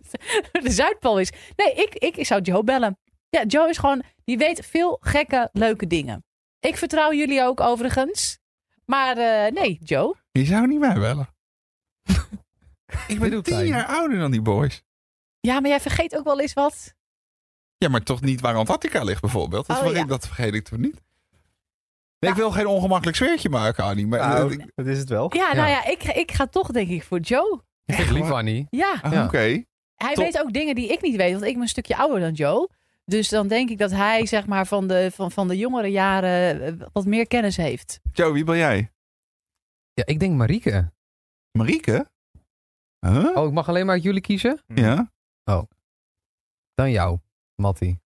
[SPEAKER 4] (laughs) de Zuidpool is. Nee, ik, ik, ik zou Joe bellen. Ja, Joe is gewoon, die weet veel gekke, leuke dingen. Ik vertrouw jullie ook overigens. Maar eh, nee, Joe.
[SPEAKER 1] Je zou niet mij
[SPEAKER 4] (laughs)
[SPEAKER 1] bellen. ik ben
[SPEAKER 3] Doe
[SPEAKER 1] tien
[SPEAKER 3] pijn.
[SPEAKER 1] jaar ouder dan die boys.
[SPEAKER 4] Ja, maar jij vergeet ook wel eens wat.
[SPEAKER 1] Ja, maar toch niet waar Antarctica ligt bijvoorbeeld. Dat,
[SPEAKER 4] Oh,
[SPEAKER 1] vergeet
[SPEAKER 4] ja. Nou.
[SPEAKER 1] ik, dat vergeet ik toch niet. Nee,
[SPEAKER 4] Ja.
[SPEAKER 1] Ik wil geen ongemakkelijk sfeertje maken, Annie. Maar,
[SPEAKER 2] nou,
[SPEAKER 1] eh,
[SPEAKER 2] dat is het wel.
[SPEAKER 4] Ja, nou ja, ik, ik ga toch denk ik voor Joe.
[SPEAKER 3] Ik vind het lief, Annie.
[SPEAKER 4] Ja,
[SPEAKER 1] ah,
[SPEAKER 3] Ja.
[SPEAKER 1] Oké.
[SPEAKER 4] hij
[SPEAKER 1] Top.
[SPEAKER 4] weet ook dingen die ik niet weet, want ik ben een stukje ouder dan Joe. Dus dan denk ik dat hij zeg maar van de, van, van de jongere jaren eh, wat meer kennis heeft.
[SPEAKER 1] Joe, wie ben jij?
[SPEAKER 3] Ja, ik denk Marieke.
[SPEAKER 1] Marieke? Huh?
[SPEAKER 3] Oh, ik mag alleen maar uit jullie kiezen?
[SPEAKER 1] Ja? Oké,
[SPEAKER 3] Oh. Dan jou, Mattie.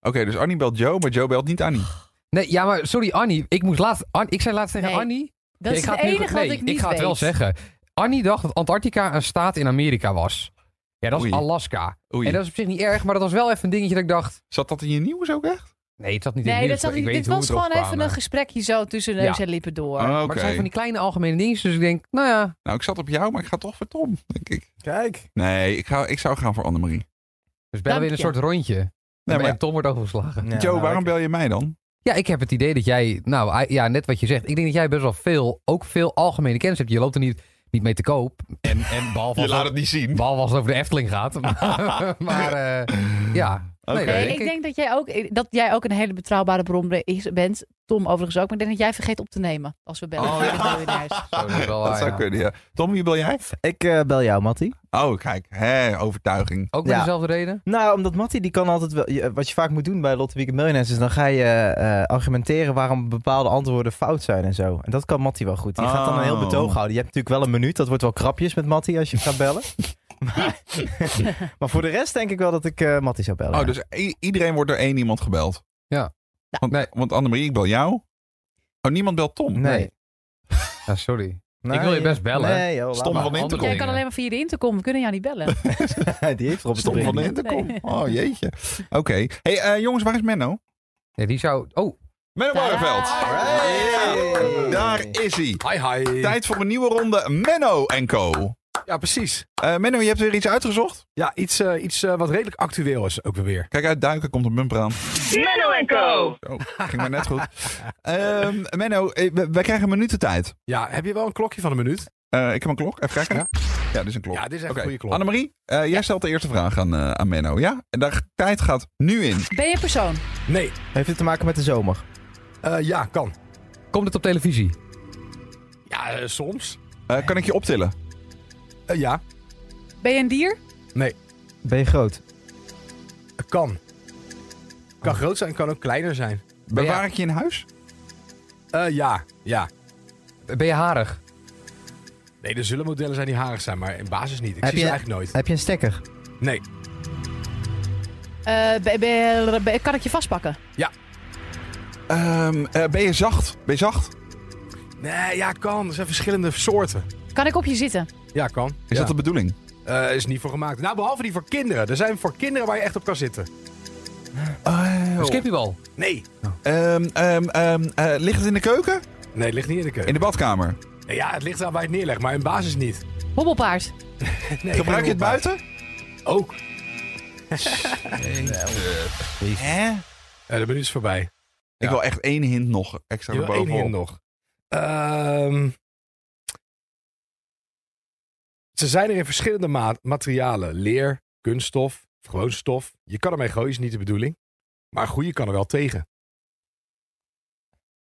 [SPEAKER 1] dus Annie belt Joe, maar Joe belt niet Annie.
[SPEAKER 3] Nee, ja, maar sorry Annie. Ik, moest laatst, An- ik zei laatst tegen
[SPEAKER 4] Nee.
[SPEAKER 3] Annie...
[SPEAKER 4] Dat is
[SPEAKER 3] ga
[SPEAKER 4] het
[SPEAKER 3] nu-
[SPEAKER 4] enige
[SPEAKER 3] nee,
[SPEAKER 4] wat ik niet
[SPEAKER 3] Ik ga het
[SPEAKER 4] weet.
[SPEAKER 3] wel zeggen. Annie dacht dat Antarctica een staat in Amerika was. Ja, dat is
[SPEAKER 1] Oei.
[SPEAKER 3] Alaska.
[SPEAKER 1] Oei,
[SPEAKER 3] En dat is op zich niet erg, maar dat was wel even een dingetje dat ik dacht...
[SPEAKER 1] zat dat in je nieuws ook echt?
[SPEAKER 3] Nee, het zat niet in het
[SPEAKER 4] Nee, dat
[SPEAKER 3] nieuws,
[SPEAKER 4] zat,
[SPEAKER 3] maar
[SPEAKER 4] niet-
[SPEAKER 3] ik
[SPEAKER 4] dit
[SPEAKER 3] weet niet hoe
[SPEAKER 4] was
[SPEAKER 3] we erop
[SPEAKER 4] gewoon even
[SPEAKER 3] kwamen.
[SPEAKER 4] een gesprekje zo tussen neus
[SPEAKER 3] Ja.
[SPEAKER 4] en lippen door.
[SPEAKER 1] Ah,
[SPEAKER 3] Maar
[SPEAKER 1] Oké.
[SPEAKER 3] het zijn van die kleine algemene dingetjes, dus ik denk, nou ja...
[SPEAKER 1] Nou, ik zat op jou, maar ik ga toch voor Tom, denk ik.
[SPEAKER 2] Kijk.
[SPEAKER 1] Nee, ik, ga, ik zou gaan voor Annemarie.
[SPEAKER 3] Dus bellen we in een
[SPEAKER 4] Dank je. nou,
[SPEAKER 3] soort rondje.
[SPEAKER 1] Nee,
[SPEAKER 3] Nee,
[SPEAKER 1] maar
[SPEAKER 3] maar
[SPEAKER 1] ja.
[SPEAKER 3] Tom wordt overgeslagen.
[SPEAKER 1] Joe, waarom bel je mij dan?
[SPEAKER 3] nou, Ja, ik heb het idee dat jij, nou ah, ja, net wat je zegt. Ik denk dat jij best wel veel, ook veel algemene kennis hebt. Je loopt er niet, niet mee te koop. En, (laughs) en behalve, als het,
[SPEAKER 1] niet zien.
[SPEAKER 3] behalve als het over de Efteling gaat. Maar, maar, eh, ja.
[SPEAKER 1] Oké.
[SPEAKER 4] Nee,
[SPEAKER 3] dat
[SPEAKER 4] ik denk dat jij, ook, dat jij ook een hele betrouwbare bron be- is- bent. Tom overigens ook. Maar ik denk dat jij vergeet op te nemen als we bellen. (laughs)
[SPEAKER 1] Oh,
[SPEAKER 4] voor de
[SPEAKER 1] ja.
[SPEAKER 4] miljonairs.
[SPEAKER 3] Zo, dat is wel
[SPEAKER 1] (laughs) Dat
[SPEAKER 3] waar,
[SPEAKER 1] zou
[SPEAKER 3] ja.
[SPEAKER 1] kunnen, ja. Tom, wie bel jij?
[SPEAKER 2] Ik eh, bel jou, Matty.
[SPEAKER 1] Oh, kijk. Hé, overtuiging.
[SPEAKER 3] Ook met
[SPEAKER 2] Ja.
[SPEAKER 3] dezelfde reden?
[SPEAKER 2] Nou, omdat Matty die kan altijd wel. je- Wat je vaak moet doen bij Lotte Weekend Millionaires is dan ga je eh, argumenteren waarom bepaalde antwoorden fout zijn en zo. En dat kan Matty wel goed. Die gaat dan een heel
[SPEAKER 1] Oh.
[SPEAKER 2] betoog houden. Je hebt natuurlijk wel een minuut. Dat wordt wel krapjes met Matty als je gaat
[SPEAKER 1] (laughs)
[SPEAKER 2] bellen. maar, (laughs) maar voor de rest denk ik wel dat ik eh Matty zou bellen.
[SPEAKER 1] Oh,
[SPEAKER 2] ja.
[SPEAKER 1] dus i- iedereen wordt door één iemand gebeld?
[SPEAKER 3] Ja.
[SPEAKER 1] Want,
[SPEAKER 3] Nee.
[SPEAKER 1] want Annemarie, ik bel jou. Oh, niemand belt Tom?
[SPEAKER 2] Nee.
[SPEAKER 3] Ja, sorry.
[SPEAKER 2] Nee,
[SPEAKER 3] Ik wil je best bellen.
[SPEAKER 2] Nee, joh, laat
[SPEAKER 1] Stom
[SPEAKER 2] maar.
[SPEAKER 1] van in te
[SPEAKER 3] andere
[SPEAKER 4] Jij
[SPEAKER 1] komen.
[SPEAKER 4] kan alleen maar via de intercom. We kunnen jou niet bellen.
[SPEAKER 2] (laughs)
[SPEAKER 4] (laughs)
[SPEAKER 2] die heeft erop
[SPEAKER 1] Stom van
[SPEAKER 2] van
[SPEAKER 1] in te
[SPEAKER 4] Nee.
[SPEAKER 1] komen. Oh, jeetje. Oké. Hey, eh, jongens, waar is Menno?
[SPEAKER 3] Ja, die zou... Oh,
[SPEAKER 1] Menno
[SPEAKER 4] Daar.
[SPEAKER 1] Barreveld.
[SPEAKER 4] Hey.
[SPEAKER 1] Daar is hij.
[SPEAKER 3] hi hi.
[SPEAKER 1] Tijd voor een nieuwe ronde Menno en Co.
[SPEAKER 5] Ja, precies.
[SPEAKER 1] Eh, Menno, je hebt weer iets uitgezocht?
[SPEAKER 5] Ja, iets, eh, iets eh, wat redelijk actueel is ook weer weer.
[SPEAKER 1] Kijk uit, duiken, komt een bumper aan.
[SPEAKER 6] Menno en Co.
[SPEAKER 1] Oh, ging maar net
[SPEAKER 5] (laughs)
[SPEAKER 1] goed. Ehm, Menno, eh, we- wij krijgen een minuten tijd.
[SPEAKER 5] Ja, heb je wel een klokje van een minuut?
[SPEAKER 1] Eh, ik heb een klok, even kijken. Ja,
[SPEAKER 5] Ja.
[SPEAKER 1] dit is een klok.
[SPEAKER 5] Ja, dit is echt
[SPEAKER 1] Oké.
[SPEAKER 5] een goede klok.
[SPEAKER 1] Annemarie, eh, jij stelt de eerste vraag aan, eh, aan Menno, ja? En daar tijd gaat nu in.
[SPEAKER 4] Ben je een persoon?
[SPEAKER 5] Nee.
[SPEAKER 2] Heeft het te maken met de zomer?
[SPEAKER 5] Eh, ja, kan.
[SPEAKER 3] Komt het op televisie?
[SPEAKER 5] Ja, eh, soms.
[SPEAKER 1] Eh, kan ik je optillen?
[SPEAKER 5] Eh, ja,
[SPEAKER 4] Ben je een dier?
[SPEAKER 2] Ben je groot?
[SPEAKER 5] eh, kan. Kan groot zijn, kan ook kleiner zijn.
[SPEAKER 1] Bewaar ik je in huis?
[SPEAKER 5] Eh, ja, ja.
[SPEAKER 3] Ben je harig?
[SPEAKER 5] Nee, er zullen modellen zijn die harig zijn, maar in basis niet. Ik
[SPEAKER 2] Heb
[SPEAKER 5] zie
[SPEAKER 2] je-
[SPEAKER 5] ze eigenlijk nooit.
[SPEAKER 2] Heb je een stekker?
[SPEAKER 5] Nee.
[SPEAKER 4] Eh, ben- ben- ben- kan ik je vastpakken?
[SPEAKER 1] Ehm, eh, ben je zacht? Ben je zacht?
[SPEAKER 5] Nee, ja, kan. Er zijn verschillende soorten.
[SPEAKER 4] Kan ik op je zitten?
[SPEAKER 5] Ja, kan.
[SPEAKER 1] Is dat de bedoeling?
[SPEAKER 5] Eh, is niet voor gemaakt. Nou, behalve die voor kinderen. Er zijn voor kinderen waar je echt op kan zitten.
[SPEAKER 2] Eh,
[SPEAKER 1] Oh.
[SPEAKER 3] Skip je wel?
[SPEAKER 5] Nee.
[SPEAKER 1] Ehm, ehm, ehm, eh, ligt het in de keuken?
[SPEAKER 5] Nee, het ligt niet in de
[SPEAKER 1] In
[SPEAKER 5] keuken.
[SPEAKER 1] de badkamer?
[SPEAKER 5] Nee, Ja, het ligt aan waar je het neerlegt, maar in basis niet. (laughs)
[SPEAKER 4] Hobbelpaard.
[SPEAKER 5] Nee,
[SPEAKER 1] Gebruik je het buiten?
[SPEAKER 5] Ook. (laughs)
[SPEAKER 1] Hè?
[SPEAKER 5] Eh, de minuut is voorbij.
[SPEAKER 1] Ik wil echt één hint nog extra
[SPEAKER 5] Je wil één
[SPEAKER 1] bovenop.
[SPEAKER 5] hint nog. Ehm, ze zijn er in verschillende ma- materialen. Leer, kunststof, gewoon stof. Je kan ermee gooien, is niet de bedoeling. Maar goed, je kan er wel tegen.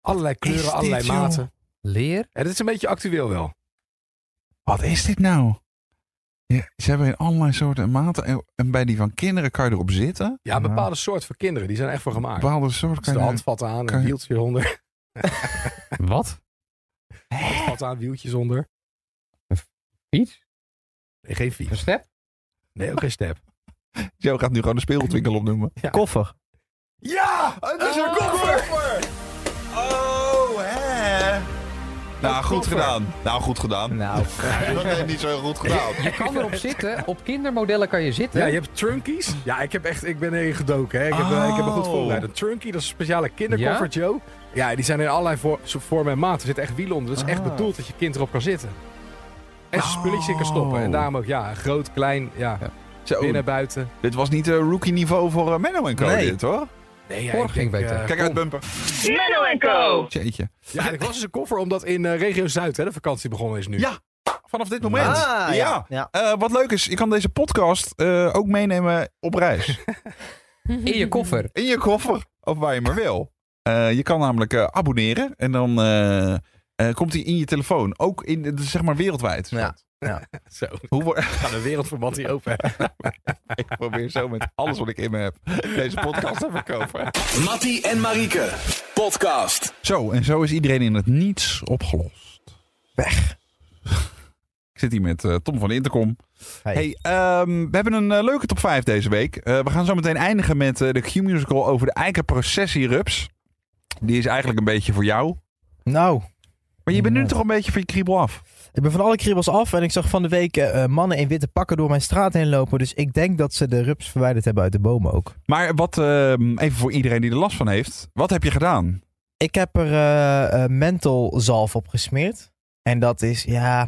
[SPEAKER 5] Allerlei kleuren,
[SPEAKER 1] dit,
[SPEAKER 5] allerlei
[SPEAKER 1] joh?
[SPEAKER 5] maten.
[SPEAKER 3] Leer?
[SPEAKER 5] En dit is een beetje actueel wel.
[SPEAKER 1] Wat is dit nou? Ja, ze hebben in allerlei soorten en maten. En, en bij die van kinderen kan je erop zitten.
[SPEAKER 5] Ja, een bepaalde soort voor kinderen. Die zijn echt voor gemaakt. Er
[SPEAKER 1] Bepaalde soort
[SPEAKER 5] is Nou,
[SPEAKER 1] kan
[SPEAKER 5] de
[SPEAKER 1] je...
[SPEAKER 5] handvat aan,
[SPEAKER 1] kan
[SPEAKER 5] een
[SPEAKER 1] je- (laughs)
[SPEAKER 5] wieltje onder.
[SPEAKER 3] Wat?
[SPEAKER 5] Handvat aan, wieltjes onder.
[SPEAKER 3] Iets?
[SPEAKER 5] Nee, geen fiets.
[SPEAKER 3] Een step?
[SPEAKER 5] Nee, ook geen step.
[SPEAKER 1] (laughs) Joe gaat nu gewoon de speelgoedwinkel opnoemen.
[SPEAKER 2] Koffer?
[SPEAKER 5] Ja! Het is een koffer!
[SPEAKER 1] Oh, hè? Nou, goed
[SPEAKER 5] koffer.
[SPEAKER 1] gedaan. Nou, goed gedaan. (laughs)
[SPEAKER 2] Nou,
[SPEAKER 1] Dat heeft niet zo heel goed gedaan.
[SPEAKER 3] Je kan erop zitten. Op kindermodellen kan je zitten.
[SPEAKER 5] Ja, je hebt trunkies. Ja, ik heb echt, ik ben erin gedoken. Hè. Ik, heb, eh, ik heb me goed
[SPEAKER 1] Oh.
[SPEAKER 5] voorbereid. Een trunkie, dat is een speciale kinderkoffer, Joe. Ja, die zijn in allerlei voor- zo- vormen en maten. Er zitten echt wielen onder. Dat is
[SPEAKER 3] Ah.
[SPEAKER 5] echt bedoeld dat je kind erop kan zitten. En zijn spulletjes in kan stoppen. En
[SPEAKER 1] Oh.
[SPEAKER 5] daarom ook, ja, groot, klein, ja,
[SPEAKER 1] Zo,
[SPEAKER 5] binnen, buiten.
[SPEAKER 1] dit was niet eh, rookie niveau voor eh, Menno en Co
[SPEAKER 2] Nee.
[SPEAKER 1] dit, hoor.
[SPEAKER 5] Nee, ja,
[SPEAKER 3] Vorige ging
[SPEAKER 5] denk,
[SPEAKER 3] beter.
[SPEAKER 5] eh,
[SPEAKER 1] Kijk uit, bumper.
[SPEAKER 6] Menno en Co.
[SPEAKER 1] Jeetje.
[SPEAKER 5] Ja, en ik was dus een koffer omdat in eh, regio Zuid hè, de vakantie begonnen is nu.
[SPEAKER 1] Ja. Vanaf dit moment.
[SPEAKER 2] Ah,
[SPEAKER 1] ja.
[SPEAKER 2] ja. ja.
[SPEAKER 1] Eh, wat leuk is, je kan deze podcast eh, ook meenemen op reis.
[SPEAKER 3] In je koffer.
[SPEAKER 1] In je koffer. Of waar je maar wil. Eh, je kan namelijk eh, abonneren en dan eh, eh, komt hij in je telefoon. Ook in, de- zeg maar, wereldwijd.
[SPEAKER 2] Ja.
[SPEAKER 5] Zo,
[SPEAKER 1] Hoe wordt...
[SPEAKER 5] gaat de wereldverband hier open.
[SPEAKER 1] (laughs) Ik probeer zo met alles wat ik in me heb deze podcast te verkopen.
[SPEAKER 7] Mattie en Marieke. Podcast.
[SPEAKER 1] Zo, en zo is iedereen in het niets opgelost. Weg. (laughs) Ik zit hier met eh, Tom van de Intercom.
[SPEAKER 2] Hey.
[SPEAKER 1] Hey, ehm, we hebben een eh, leuke top 5 deze week. Eh, we gaan zo meteen eindigen met eh, de Q-musical over de eikenprocessie Rups. Die is eigenlijk een beetje voor jou.
[SPEAKER 2] Nou,
[SPEAKER 1] Maar je bent nu
[SPEAKER 2] Ja.
[SPEAKER 1] toch een beetje van je kriebel af.
[SPEAKER 2] ik ben van alle kriebels af en ik zag van de week eh, eh, mannen in witte pakken door mijn straat heen lopen. Dus ik denk dat ze de rups verwijderd hebben uit de bomen ook.
[SPEAKER 1] Maar wat, ehm, even voor iedereen die er last van heeft. Wat heb je gedaan?
[SPEAKER 2] Ik heb er eh eh, mentholzalf op gesmeerd. En dat is, ja,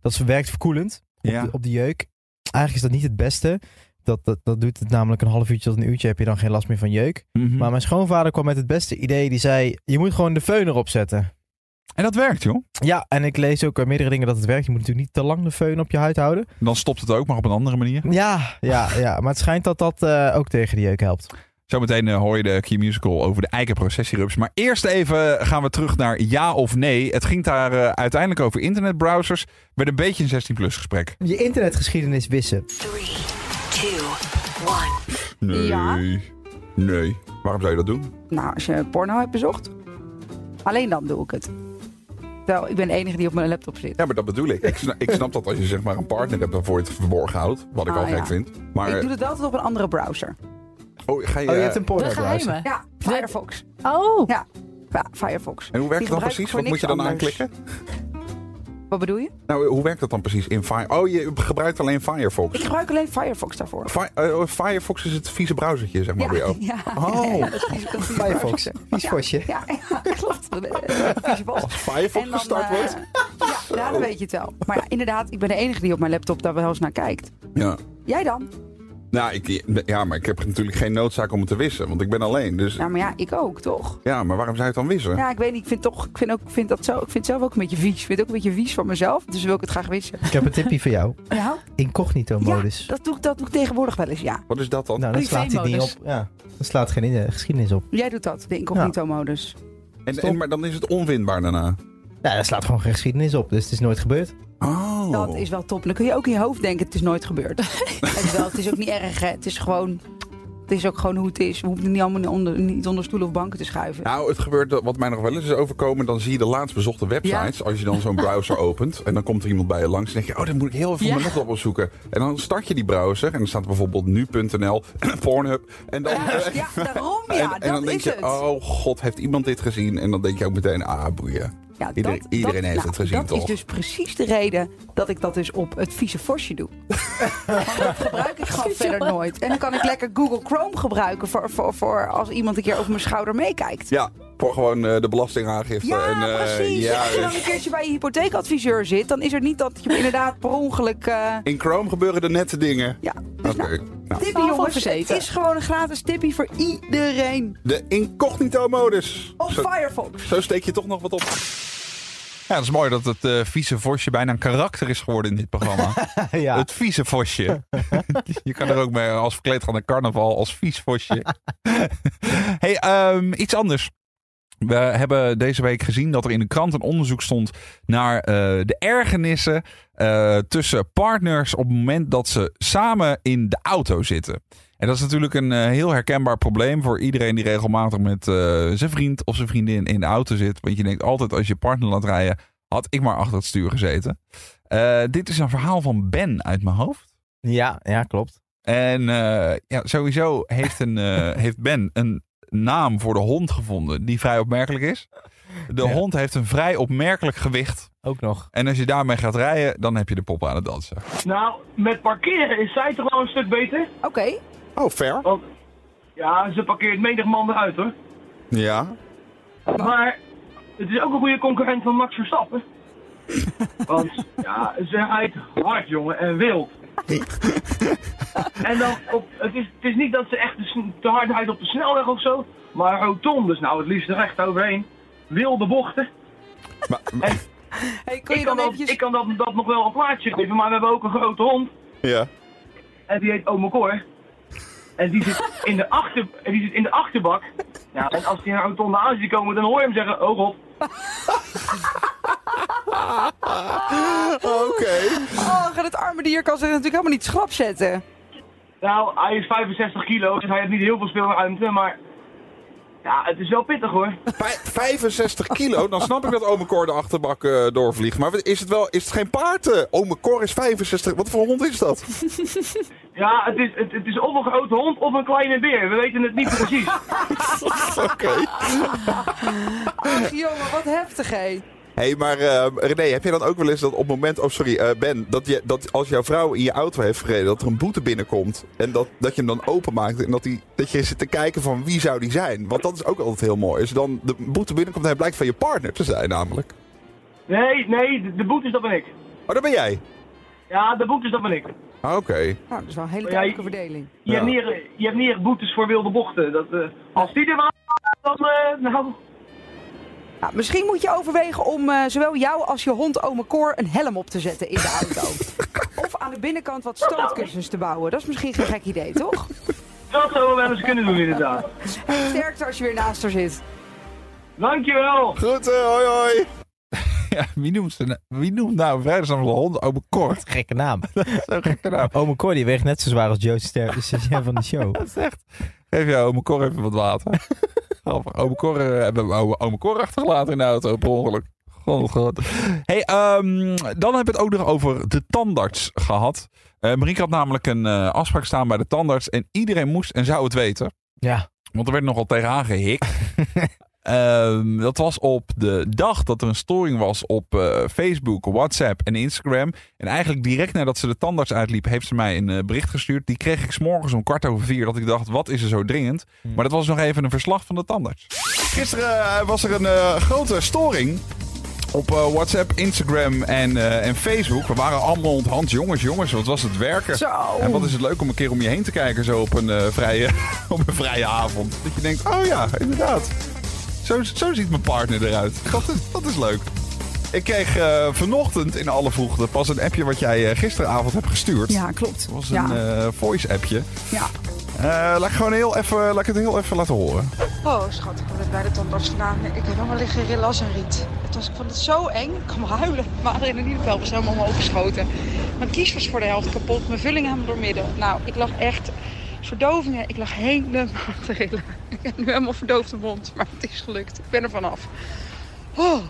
[SPEAKER 2] dat is werkt verkoelend op, de, op de jeuk. Eigenlijk is dat niet het beste. Dat, dat, dat doet het namelijk een half uurtje tot een uurtje heb je dan geen last meer van jeuk.
[SPEAKER 1] Mhm.
[SPEAKER 2] Maar mijn schoonvader kwam met het beste idee. Die zei, je moet gewoon de föhn erop zetten.
[SPEAKER 1] En dat werkt, joh.
[SPEAKER 2] Ja, en ik lees ook eh, meerdere dingen dat het werkt. Je moet natuurlijk niet te lang de föhn op je huid houden.
[SPEAKER 1] Dan stopt het ook, maar op een andere manier.
[SPEAKER 2] Ja, ja, ja. Maar het schijnt dat dat eh, ook tegen de jeuk helpt.
[SPEAKER 1] Zometeen eh, hoor je de Key Musical over de eikenprocessierups. Maar eerst even gaan we terug naar ja of nee. Het ging daar eh, uiteindelijk over internetbrowsers. Met een beetje een 16-plus gesprek.
[SPEAKER 2] Je internetgeschiedenis wissen.
[SPEAKER 1] Nee.
[SPEAKER 8] Ja.
[SPEAKER 1] Nee. Waarom zou je dat doen?
[SPEAKER 8] Nou, als je porno hebt bezocht, alleen dan doe ik het. Terwijl ik ben de enige die op mijn laptop zit.
[SPEAKER 1] Ja, maar dat bedoel ik. Ik snap, ik snap dat als je zeg maar een partner hebt waarvoor je het verborgen houdt. Wat ik
[SPEAKER 8] Ah,
[SPEAKER 1] al gek
[SPEAKER 8] ja.
[SPEAKER 1] vind. Maar
[SPEAKER 8] Ik doe het altijd op een andere browser.
[SPEAKER 1] oh, ga je,
[SPEAKER 2] Oh, je
[SPEAKER 1] eh,
[SPEAKER 2] hebt een porno
[SPEAKER 4] de geheime.
[SPEAKER 8] Ja, Firefox.
[SPEAKER 4] Oh,
[SPEAKER 8] Ja, Firefox.
[SPEAKER 1] En hoe werkt
[SPEAKER 8] Die gebruik ik
[SPEAKER 1] dat precies?
[SPEAKER 8] voor
[SPEAKER 1] Wat moet je
[SPEAKER 8] niks
[SPEAKER 1] dan
[SPEAKER 8] anders.
[SPEAKER 1] aanklikken?
[SPEAKER 8] Wat bedoel je?
[SPEAKER 1] Nou, hoe werkt dat dan precies in Fire? Oh, je gebruikt alleen Firefox.
[SPEAKER 8] Ik gebruik alleen Firefox
[SPEAKER 1] (laughs)
[SPEAKER 8] daarvoor.
[SPEAKER 1] Fi- eh, Firefox is het vieze browsertje, zeg maar, bij jou.
[SPEAKER 8] (laughs) ja.
[SPEAKER 1] Oh.
[SPEAKER 8] Ja, dat is een
[SPEAKER 2] Firefox. Vies
[SPEAKER 8] Ja.
[SPEAKER 2] vosje.
[SPEAKER 8] Ja, klopt. Eh, vieze bos.
[SPEAKER 1] Als Firefox
[SPEAKER 8] En dan,
[SPEAKER 1] gestart
[SPEAKER 8] eh,
[SPEAKER 1] wordt.
[SPEAKER 8] Ja, ja, dan weet je het wel. Maar ja, inderdaad, ik ben de enige die op mijn laptop daar wel eens naar kijkt.
[SPEAKER 1] Ja.
[SPEAKER 8] Jij dan?
[SPEAKER 1] Nou, ik, ja, maar ik heb natuurlijk geen noodzaak om het te wissen, want ik ben alleen. Dus
[SPEAKER 8] Nou, maar ja, ik ook, toch?
[SPEAKER 1] ja, maar waarom zou je het dan wissen?
[SPEAKER 8] Ja, ik weet niet. Ik vind, toch, ik vind, ook, ik vind, dat zo, ik vind het zelf ook een beetje vies. Ik vind het ook een beetje vies van mezelf. Dus wil ik het graag wissen.
[SPEAKER 2] Ik heb een
[SPEAKER 8] (laughs)
[SPEAKER 2] tipje voor jou.
[SPEAKER 8] Nou,
[SPEAKER 2] Incognito
[SPEAKER 8] ja,
[SPEAKER 2] modus.
[SPEAKER 8] dat doe, ik, dat doe ik tegenwoordig wel eens, ja.
[SPEAKER 1] Wat is dat dan?
[SPEAKER 2] nou, dat slaat hij niet
[SPEAKER 4] privémodus.
[SPEAKER 2] op. Ja, dat slaat geen eh, geschiedenis op.
[SPEAKER 8] Jij doet dat, de incognito-modus.
[SPEAKER 1] en, en, maar dan is het onwindbaar daarna.
[SPEAKER 2] Nou, dat slaat gewoon geen geschiedenis op. Dus het is nooit gebeurd.
[SPEAKER 1] Oh.
[SPEAKER 8] Dat is wel top. Dan kun je ook in je hoofd denken, het is nooit gebeurd. het, is wel, het is ook niet erg, hè. Het is gewoon... Het is ook gewoon hoe het is. We hoeven het niet allemaal onder, niet onder stoelen of banken te schuiven.
[SPEAKER 1] Nou, het gebeurt dat- wat mij nog wel eens is overkomen. Dan zie je de laatst bezochte websites. Als je dan zo'n
[SPEAKER 8] (laughs)
[SPEAKER 1] browser opent. En dan komt er iemand bij je langs. En denk je, oh, dat moet ik heel even
[SPEAKER 4] Ja.
[SPEAKER 1] mijn laptop opzoeken. En dan start je die browser. En dan staat er bijvoorbeeld nu.nl, (clears throat) Pornhub. En dan,
[SPEAKER 8] Ja, dus ja,
[SPEAKER 1] (laughs)
[SPEAKER 8] daarom ja,
[SPEAKER 1] en,
[SPEAKER 8] dat
[SPEAKER 1] en dan denk
[SPEAKER 8] is
[SPEAKER 1] je,
[SPEAKER 8] het.
[SPEAKER 1] oh god, heeft iemand dit gezien? En dan denk je ook meteen, ah, boeien.
[SPEAKER 8] Ja,
[SPEAKER 1] Ieder- iedereen heeft het gezien,
[SPEAKER 8] dat
[SPEAKER 1] toch?
[SPEAKER 8] is dus precies de reden dat ik dat dus op het vieze forsje
[SPEAKER 1] (laughs)
[SPEAKER 8] doe. Want dat gebruik ik gewoon verder nooit. En dan kan ik lekker Google Chrome gebruiken voor, voor, voor als iemand een keer over mijn schouder meekijkt.
[SPEAKER 1] Ja, voor gewoon eh, de belastingaangifte.
[SPEAKER 8] Ja,
[SPEAKER 1] en, eh,
[SPEAKER 8] precies.
[SPEAKER 1] ja,
[SPEAKER 8] Als je (laughs) dan een keertje bij je hypotheekadviseur zit, dan is er niet dat je inderdaad per ongeluk... eh,
[SPEAKER 1] in Chrome gebeuren de nette dingen.
[SPEAKER 8] ja,
[SPEAKER 1] Oké.
[SPEAKER 8] dus nou,
[SPEAKER 1] Nou,
[SPEAKER 8] tippie
[SPEAKER 4] Half
[SPEAKER 8] jongens, het
[SPEAKER 4] verzeten.
[SPEAKER 8] is gewoon een gratis tippie voor iedereen
[SPEAKER 1] de incognito-modus.
[SPEAKER 8] op
[SPEAKER 1] Zo-
[SPEAKER 8] Firefox.
[SPEAKER 1] Zo steek je toch nog wat op.
[SPEAKER 9] Ja, dat is mooi dat het eh, vieze vosje bijna een karakter is geworden in dit programma.
[SPEAKER 2] ja.
[SPEAKER 9] Het vieze vosje. je kan er ook mee als verkleed gaan naar carnaval, als vies vosje. (laughs) hey, ehm, iets anders. We hebben deze week gezien dat er in de krant een onderzoek stond naar eh, de ergernissen eh, tussen partners op het moment dat ze samen in de auto zitten. En dat is natuurlijk een eh, heel herkenbaar probleem voor iedereen die regelmatig met eh, zijn vriend of zijn vriendin in de auto zit. Want je denkt altijd als je partner laat rijden, had ik maar achter het stuur gezeten. Eh, dit is een verhaal van Ben uit mijn hoofd.
[SPEAKER 2] Ja, ja, klopt.
[SPEAKER 9] En eh, ja, sowieso heeft, een,
[SPEAKER 2] (laughs)
[SPEAKER 9] eh, heeft Ben een naam voor de hond gevonden die vrij opmerkelijk is. De
[SPEAKER 2] Ja.
[SPEAKER 9] hond heeft een vrij opmerkelijk gewicht.
[SPEAKER 2] Ook nog.
[SPEAKER 9] En als je daarmee gaat rijden, dan heb je de pop aan het dansen.
[SPEAKER 6] Nou, met parkeren is zij toch wel een stuk beter?
[SPEAKER 8] Oké,
[SPEAKER 1] Oh, fair.
[SPEAKER 6] Want ja, ze parkeert menig man eruit hoor.
[SPEAKER 1] Ja.
[SPEAKER 6] Maar het is ook een goede concurrent van Max
[SPEAKER 8] (laughs)
[SPEAKER 6] Verstappen. Want ja, ze rijdt hard jongen en
[SPEAKER 8] (laughs)
[SPEAKER 6] wild. En dan, op, het, is, het is niet dat ze echt de sn- te hard rijdt op de snelweg of zo, maar rotondes, nou het liefst recht overheen. Wilde bochten.
[SPEAKER 1] Maar,
[SPEAKER 8] hey, kun je
[SPEAKER 6] ik kan,
[SPEAKER 8] dan
[SPEAKER 6] dat,
[SPEAKER 8] eventjes...
[SPEAKER 6] ik kan dat, dat nog wel een plaatje geven, maar we hebben ook een grote hond.
[SPEAKER 1] ja.
[SPEAKER 6] En die heet Omekor. En die zit in de, achter, en die zit in de achterbak. Ja, en als die naar rotonde aan ziet komen, dan hoor je hem zeggen, oh god.
[SPEAKER 1] Ah, Oké.
[SPEAKER 8] Oh, het arme dier kan zich natuurlijk helemaal niet schrap
[SPEAKER 1] (laughs)
[SPEAKER 8] zetten.
[SPEAKER 6] Nou, hij is 65 kilo, dus hij heeft niet heel veel speelruimte, maar... Ja, het is wel pittig
[SPEAKER 1] (laughs)
[SPEAKER 6] hoor.
[SPEAKER 1] Vij- 65 kilo, dan snap ik dat ome Cor de achterbak eh, doorvliegt. Maar is het wel, is het geen paard? eh? Ome Cor is 65, wat voor hond is dat?
[SPEAKER 6] Ja, het is, het, het is of een grote hond of een kleine beer. We weten het niet precies.
[SPEAKER 1] (laughs) Oké.
[SPEAKER 8] Ach jongen, wat heftig hé.
[SPEAKER 1] hey, maar eh, René, heb jij dan ook wel eens dat op het moment, oh sorry eh, Ben, dat, je, dat als jouw vrouw in je auto heeft gereden, dat er een boete binnenkomt en dat, dat je hem dan openmaakt en dat, die, dat je zit te kijken van wie zou die zijn? Want dat is ook altijd heel mooi. Als dan de boete binnenkomt en hij blijkt van je partner te zijn namelijk.
[SPEAKER 6] Nee, nee, de, de boetes, dat ben ik.
[SPEAKER 1] Oh, dat ben jij?
[SPEAKER 6] Ja, de boetes, dat ben ik.
[SPEAKER 1] Ah, Oké.
[SPEAKER 8] Nou, dat is wel een hele duidelijke verdeling.
[SPEAKER 6] Je,
[SPEAKER 1] Ja.
[SPEAKER 6] hebt, eh, niet, echt- je hebt niet echt boetes voor wilde bochten. Dat, eh, als die er was, dan... eh, nou,
[SPEAKER 8] Ja, misschien moet je overwegen om eh, zowel jou als je hond Ome Cor een helm op te zetten in de
[SPEAKER 1] (laughs)
[SPEAKER 8] auto. of aan de binnenkant wat stootkussens te bouwen. Dat is misschien geen gek idee, toch?
[SPEAKER 6] dat zouden we wel eens kunnen doen inderdaad.
[SPEAKER 8] Sterkte als je weer naast haar zit.
[SPEAKER 6] Dankjewel.
[SPEAKER 1] Groeten, eh, hoi hoi.
[SPEAKER 9] Ja, wie noemt, ze, nou- wie noemt nou vrijdagavond de hond Ome Cor? (laughs) Dat
[SPEAKER 2] Gekke naam.
[SPEAKER 9] is Zo'n gekke naam.
[SPEAKER 2] Ome Cor, die weegt net zo zwaar als Joe Ster (laughs) de stagiair van de show.
[SPEAKER 9] Dat is echt. Geef jou ome Cor even wat water. Grappig. Ome Cor, eh, hebben we ome- ome Cor achtergelaten in de auto per ongeluk. God, oh god. Hey, ehm, dan hebben we het ook nog over de tandarts gehad. Eh Marieke had namelijk een eh, afspraak staan bij de tandarts. En iedereen moest en zou het weten.
[SPEAKER 2] Ja.
[SPEAKER 9] Want er werd nogal tegenaan gehikt. Eh,
[SPEAKER 1] Ehm, dat was op de dag dat er een storing was op eh, Facebook, WhatsApp en Instagram. En eigenlijk direct nadat ze de tandarts uitliep, heeft ze mij een eh, bericht gestuurd. Die kreeg ik s'morgens om kwart over vier, dat ik dacht, wat is er zo dringend? Maar dat was nog even een verslag van de tandarts. Gisteren eh, was er een eh, grote storing op eh, WhatsApp, Instagram en, eh, en Facebook. We waren allemaal onthand. Jongens, jongens, wat was het werken.
[SPEAKER 8] Zo.
[SPEAKER 1] En wat is het leuk om een keer om je heen te kijken zo op een, eh, vrije, (laughs) op een vrije avond. Dat je denkt, oh ja, inderdaad. Zo, zo ziet mijn partner eruit. Dat is, dat is leuk. Ik kreeg eh, vanochtend in alle vroegte pas een appje wat jij eh, gisteravond hebt gestuurd.
[SPEAKER 8] Ja, klopt.
[SPEAKER 1] Dat was
[SPEAKER 8] Ja,
[SPEAKER 1] een eh, voice-appje.
[SPEAKER 8] ja.
[SPEAKER 1] Eh, laat, ik gewoon heel even, laat ik het heel even laten horen.
[SPEAKER 10] Oh, schat, ik kom net bij de tandarts vandaan. Ik heb helemaal liggen rillen als een riet. Het was, ik vond het zo eng. Ik kwam huilen. Mijn adrenalinevel was helemaal omhoog geschoten. Mijn kies was voor de helft kapot. Mijn vulling helemaal doormidden. Nou, ik lag echt... Verdovingen. Ik lag helemaal te rillen. Ik heb nu helemaal verdoofde mond. Maar het is gelukt. Ik ben er vanaf. Oh,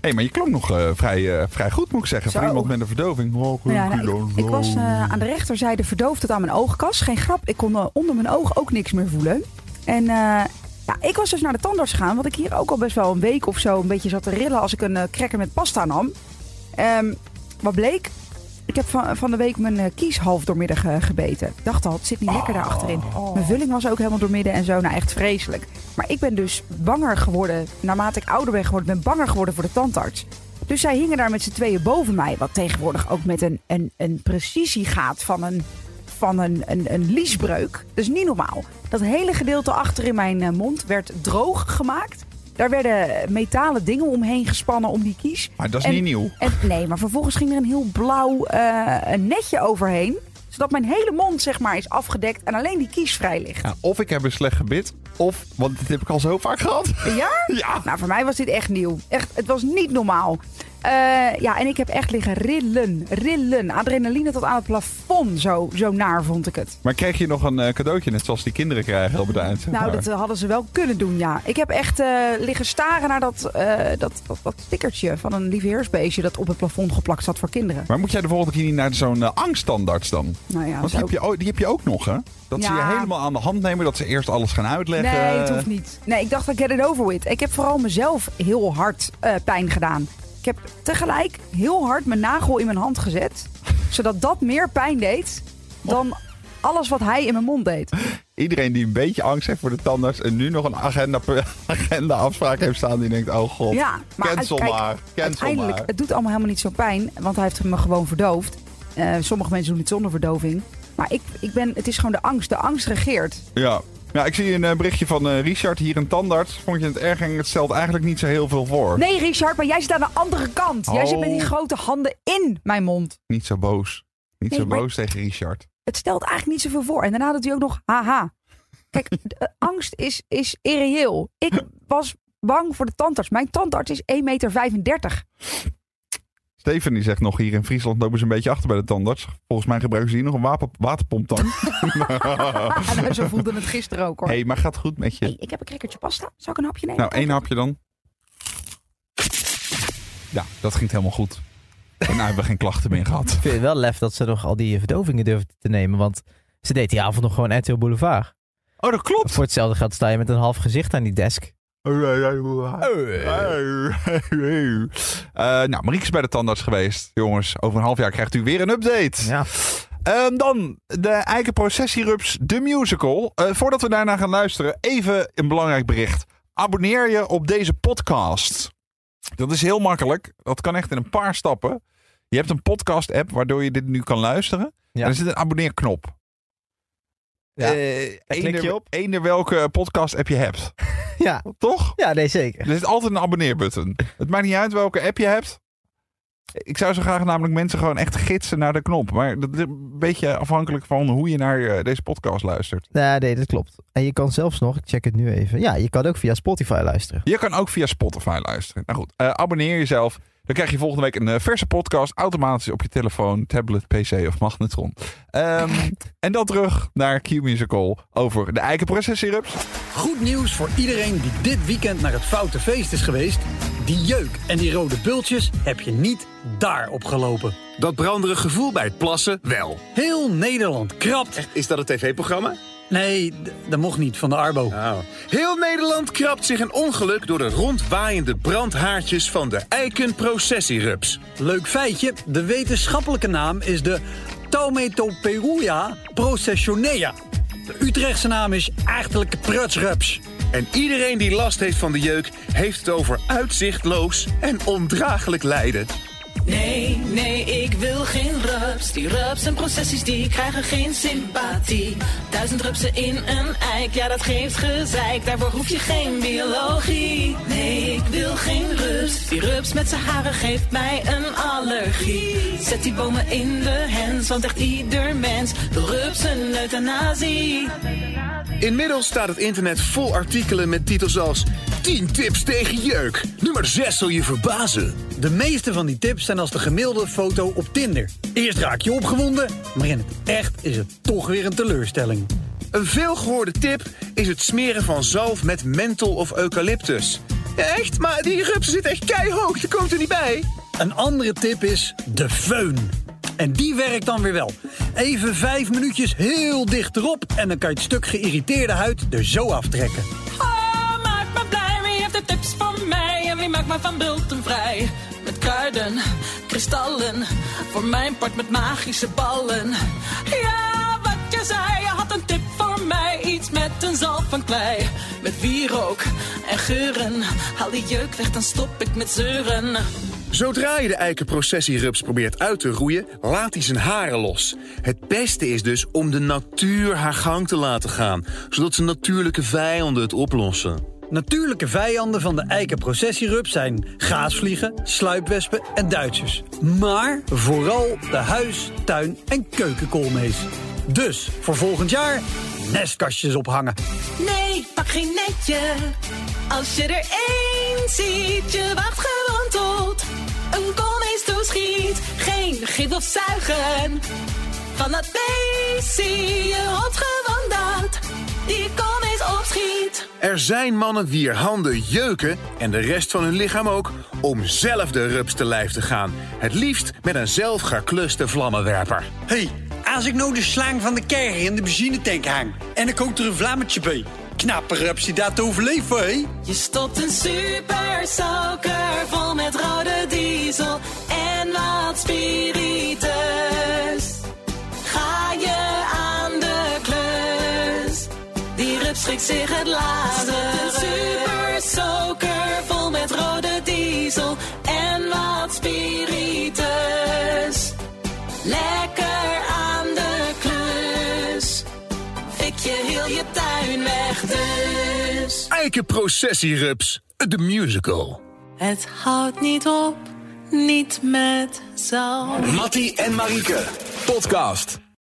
[SPEAKER 1] Hé, maar je klonk nog eh, vrij, eh, vrij goed, moet ik zeggen.
[SPEAKER 8] Zo.
[SPEAKER 1] Voor iemand met een verdoving.
[SPEAKER 8] Ja, nou, ik, ik was eh, aan de rechterzijde verdoofd tot aan mijn oogkas. Geen grap, ik kon eh, onder mijn oog ook niks meer voelen. En eh, ja, ik was dus naar de tandarts gegaan, want ik hier ook al best wel een week of zo een beetje zat te rillen als ik een eh, cracker met pasta nam. Ehm, wat bleek? Ik heb van, van de week mijn eh, kies half doormiddag eh, gebeten. Ik dacht al, het zit niet lekker daar achterin. Mijn vulling was ook helemaal doormidden en zo. Nou, echt vreselijk. Maar ik ben dus banger geworden, naarmate ik ouder ben geworden, ben banger geworden voor de tandarts. Dus zij hingen daar met z'n tweeën boven mij. Wat tegenwoordig ook met een, een, een precisie gaat van een, van een, een, een liesbreuk. Dus niet normaal. Dat hele gedeelte achter in mijn eh, mond werd droog gemaakt. Daar werden metalen dingen omheen gespannen om die kies.
[SPEAKER 1] Maar dat is
[SPEAKER 8] En-
[SPEAKER 1] niet nieuw.
[SPEAKER 8] En, nee, maar vervolgens ging er een heel blauw eh, een netje overheen. Zodat mijn hele mond zeg maar, is afgedekt en alleen die kies vrij ligt.
[SPEAKER 1] Ja, of ik heb een slecht gebit, of, want dit heb ik al zo vaak gehad.
[SPEAKER 8] Ja?
[SPEAKER 1] Ja.
[SPEAKER 8] Nou, voor mij was dit echt nieuw. Echt, het was niet normaal. Eh, ja, en ik heb echt liggen rillen, rillen. Adrenaline tot aan het plafond, zo, zo naar vond ik het.
[SPEAKER 1] (laughs) Maar kreeg je nog een eh, cadeautje, net zoals die kinderen krijgen op het eind? zeg
[SPEAKER 8] Nou,
[SPEAKER 1] maar.
[SPEAKER 8] dat eh, hadden ze wel kunnen doen, ja. Ik heb echt eh, liggen staren naar dat, eh dat, dat, dat stickertje van een liefheersbeestje... dat op het plafond geplakt zat voor kinderen.
[SPEAKER 1] Maar moet jij de volgende keer niet naar zo'n eh, angststandaards dan?
[SPEAKER 8] Nou ja,
[SPEAKER 1] Want die
[SPEAKER 8] zo.
[SPEAKER 1] heb, je, ook- die heb je ook nog, hè? Dat ze
[SPEAKER 8] Ja.
[SPEAKER 1] je helemaal aan de hand nemen, dat ze eerst alles gaan uitleggen.
[SPEAKER 8] Nee, het hoeft niet. Nee, ik dacht, I get it over with. Ik heb vooral mezelf heel hard eh, pijn gedaan. Ik heb tegelijk heel hard mijn nagel in mijn hand
[SPEAKER 1] (laughs)
[SPEAKER 8] gezet. Zodat dat meer pijn deed dan alles wat hij in mijn mond deed.
[SPEAKER 1] Iedereen die een beetje angst heeft voor de tandarts en nu nog een agenda, (laughs) agenda afspraak heeft staan, die denkt, oh god,
[SPEAKER 8] Ja, maar
[SPEAKER 1] cancel
[SPEAKER 8] kijk,
[SPEAKER 1] maar, cancel
[SPEAKER 8] uiteindelijk,
[SPEAKER 1] maar.
[SPEAKER 8] het doet allemaal helemaal niet zo pijn. Want hij heeft me gewoon verdoofd. Eh, sommige mensen doen het zonder verdoving. Maar ik, ik ben, het is gewoon de angst. De angst regeert.
[SPEAKER 1] Ja. ja, ik zie een eh, berichtje van eh, Richard, hier een tandarts. Vond je het erg en het stelt eigenlijk niet zo heel veel voor.
[SPEAKER 8] Nee, Richard, maar jij zit aan de andere kant. Jij zit met die
[SPEAKER 1] Oh.
[SPEAKER 8] grote handen in mijn mond.
[SPEAKER 1] Niet zo boos. Niet
[SPEAKER 8] Nee,
[SPEAKER 1] zo
[SPEAKER 8] maar-
[SPEAKER 1] boos tegen Richard.
[SPEAKER 8] het stelt eigenlijk niet zoveel voor. En daarna had hij ook nog haha.
[SPEAKER 1] (laughs)
[SPEAKER 8] Kijk, de, eh, angst is, is irreëel. Ik was bang voor de tandarts. Mijn tandarts is 1,35
[SPEAKER 1] (laughs)
[SPEAKER 8] meter.
[SPEAKER 1] Steven die zegt nog, hier in Friesland lopen ze een beetje achter bij de tandarts. Volgens mij gebruiken ze hier nog een wapen,
[SPEAKER 8] (laughs)
[SPEAKER 1] waterpomptang.
[SPEAKER 8] nou, (laughs) zo voelde het gisteren ook hoor.
[SPEAKER 1] Hé, hey, maar gaat goed met je.
[SPEAKER 8] Hey, ik heb een crackertje pasta. Zou ik een hapje nemen?
[SPEAKER 1] Nou, één hapje dan. Ja, dat ging helemaal goed. En nou hebben we geen klachten meer gehad.
[SPEAKER 2] Ik vind het wel lef dat ze nog al die verdovingen durfde te nemen. Want ze deed die avond nog gewoon RTL Boulevard.
[SPEAKER 1] Oh, dat klopt.
[SPEAKER 2] Voor hetzelfde geld sta je met een half gezicht aan die desk.
[SPEAKER 1] nou, Marieke is bij de tandarts geweest. Jongens, over een half jaar krijgt u weer een update.
[SPEAKER 2] Ja.
[SPEAKER 1] Ehm, dan de Eikenprocessierups, de musical. Eh, voordat we daarna gaan luisteren, even een belangrijk bericht. Abonneer je op deze podcast. Dat is heel makkelijk. Dat kan echt in een paar stappen. Je hebt een podcast-app waardoor je dit nu kan luisteren.
[SPEAKER 2] Ja.
[SPEAKER 1] En er zit een abonneerknop.
[SPEAKER 2] Ja.
[SPEAKER 1] Eh,
[SPEAKER 2] klik je
[SPEAKER 1] eender-
[SPEAKER 2] op.
[SPEAKER 1] eender welke podcast-app je hebt.
[SPEAKER 2] (laughs) Ja.
[SPEAKER 1] Toch?
[SPEAKER 2] ja, nee zeker.
[SPEAKER 1] Er zit altijd een abonneerbutton. Het maakt niet uit welke app je hebt. Ik zou zo graag namelijk mensen gewoon echt gidsen naar de knop. Maar dat is een beetje afhankelijk van hoe je naar eh, deze podcast luistert.
[SPEAKER 2] Nee, nee, dat klopt. En je kan zelfs nog, ik check het nu even. Ja, je kan ook via Spotify luisteren.
[SPEAKER 1] Je kan ook via Spotify luisteren. Nou goed, eh, abonneer jezelf. Dan krijg je volgende week een eh, verse podcast automatisch op je telefoon, tablet, pc of magnetron.
[SPEAKER 2] (laughs)
[SPEAKER 1] Ehm, en dan terug naar Q-Musical over de eikenprocessirups.
[SPEAKER 11] Goed nieuws voor iedereen die dit weekend naar het Foute Feest is geweest. Die jeuk en die rode bultjes heb je niet daar opgelopen.
[SPEAKER 12] Dat branderig gevoel bij het plassen wel.
[SPEAKER 11] Heel Nederland krabt.
[SPEAKER 12] Is dat een tv-programma? Oh.
[SPEAKER 11] Nee, d- dat mocht niet, van de Arbo.
[SPEAKER 12] Heel Nederland krabt zich een ongeluk door de rondwaaiende brandhaartjes van de eikenprocessierups.
[SPEAKER 11] Leuk feitje, de wetenschappelijke naam is de Taumetoperuia processionea. De Utrechtse naam is eigenlijk prutsrups.
[SPEAKER 12] En iedereen die last heeft van de jeuk, heeft het over uitzichtloos en ondraaglijk lijden.
[SPEAKER 13] Nee, nee, ik wil geen rups. Die rups en processies die krijgen geen sympathie. Duizend rupsen in een eik, ja dat geeft gezeik. Daarvoor hoef je geen biologie. Nee, ik wil geen rups. Die rups met zijn haren geeft mij een allergie. Zet die bomen in de hens, want echt ieder mens wil rups een euthanasie.
[SPEAKER 12] Inmiddels staat het internet vol artikelen met titels als 10 tips tegen jeuk. Nummer 6 zal je verbazen.
[SPEAKER 11] De meeste van die tips zijn als de gemiddelde foto op Tinder. Eerst raak je opgewonden, maar in het echt is het toch weer een teleurstelling.
[SPEAKER 12] Een veelgehoorde tip is het smeren van zalf met menthol of eucalyptus. Echt? Maar die rups zit echt keihoog, je komt er niet bij.
[SPEAKER 11] Een andere tip is de föhn. En die werkt dan weer wel. Even vijf minuutjes heel dicht erop en dan kan je het stuk geïrriteerde huid er zo aftrekken.
[SPEAKER 13] Oh, maak me blij, wie heeft de tips van mij? En wie maakt me van bulten vrij? Met kruiden, kristallen, voor mijn part met magische ballen. Ja, wat je zei, je had een tip voor mij. Iets met een zalf van klei, met wierook en geuren. Haal die jeuk weg, dan stop ik met zeuren.
[SPEAKER 12] Zodra je de eikenprocessierups probeert uit te roeien, laat hij zijn haren los. Het beste is dus om de natuur haar gang te laten gaan, zodat zijn natuurlijke vijanden het oplossen.
[SPEAKER 11] Natuurlijke vijanden van de eikenprocessierup zijn gaasvliegen, sluipwespen en Duitsers. Maar vooral de huis-, tuin- en keukenkoolmees. Dus voor volgend jaar nestkastjes ophangen.
[SPEAKER 13] Nee, pak geen netje. Als je er één ziet, je wacht gewoon tot een koolmees toeschiet. Geen gif of zuigen. Van dat beest zie je hot gewoon dat die koolmees opschiet.
[SPEAKER 12] Er zijn mannen die er handen jeuken en de rest van hun lichaam ook, om zelf de rups te lijf te gaan. Het liefst met een zelfgekluste vlammenwerper.
[SPEAKER 11] Hé, hey, als ik nou de slang van de kerk in de benzinetank hang... en ik ook er een vlammetje bij... Knappe rups die dat te overleven, hé?
[SPEAKER 13] Je stopt een superzalker vol met rode diesel en wat spiritus. Ga je aan de klus. Die rups schrikt zich het laatste. Een supersoker vol met rode diesel en wat spiritus. Lekker aan de klus. Fik je heel je tuin weg dus.
[SPEAKER 12] Eikenprocessierups, de musical.
[SPEAKER 13] Het houdt niet op, niet met zalm.
[SPEAKER 7] Mattie en Marieke, podcast.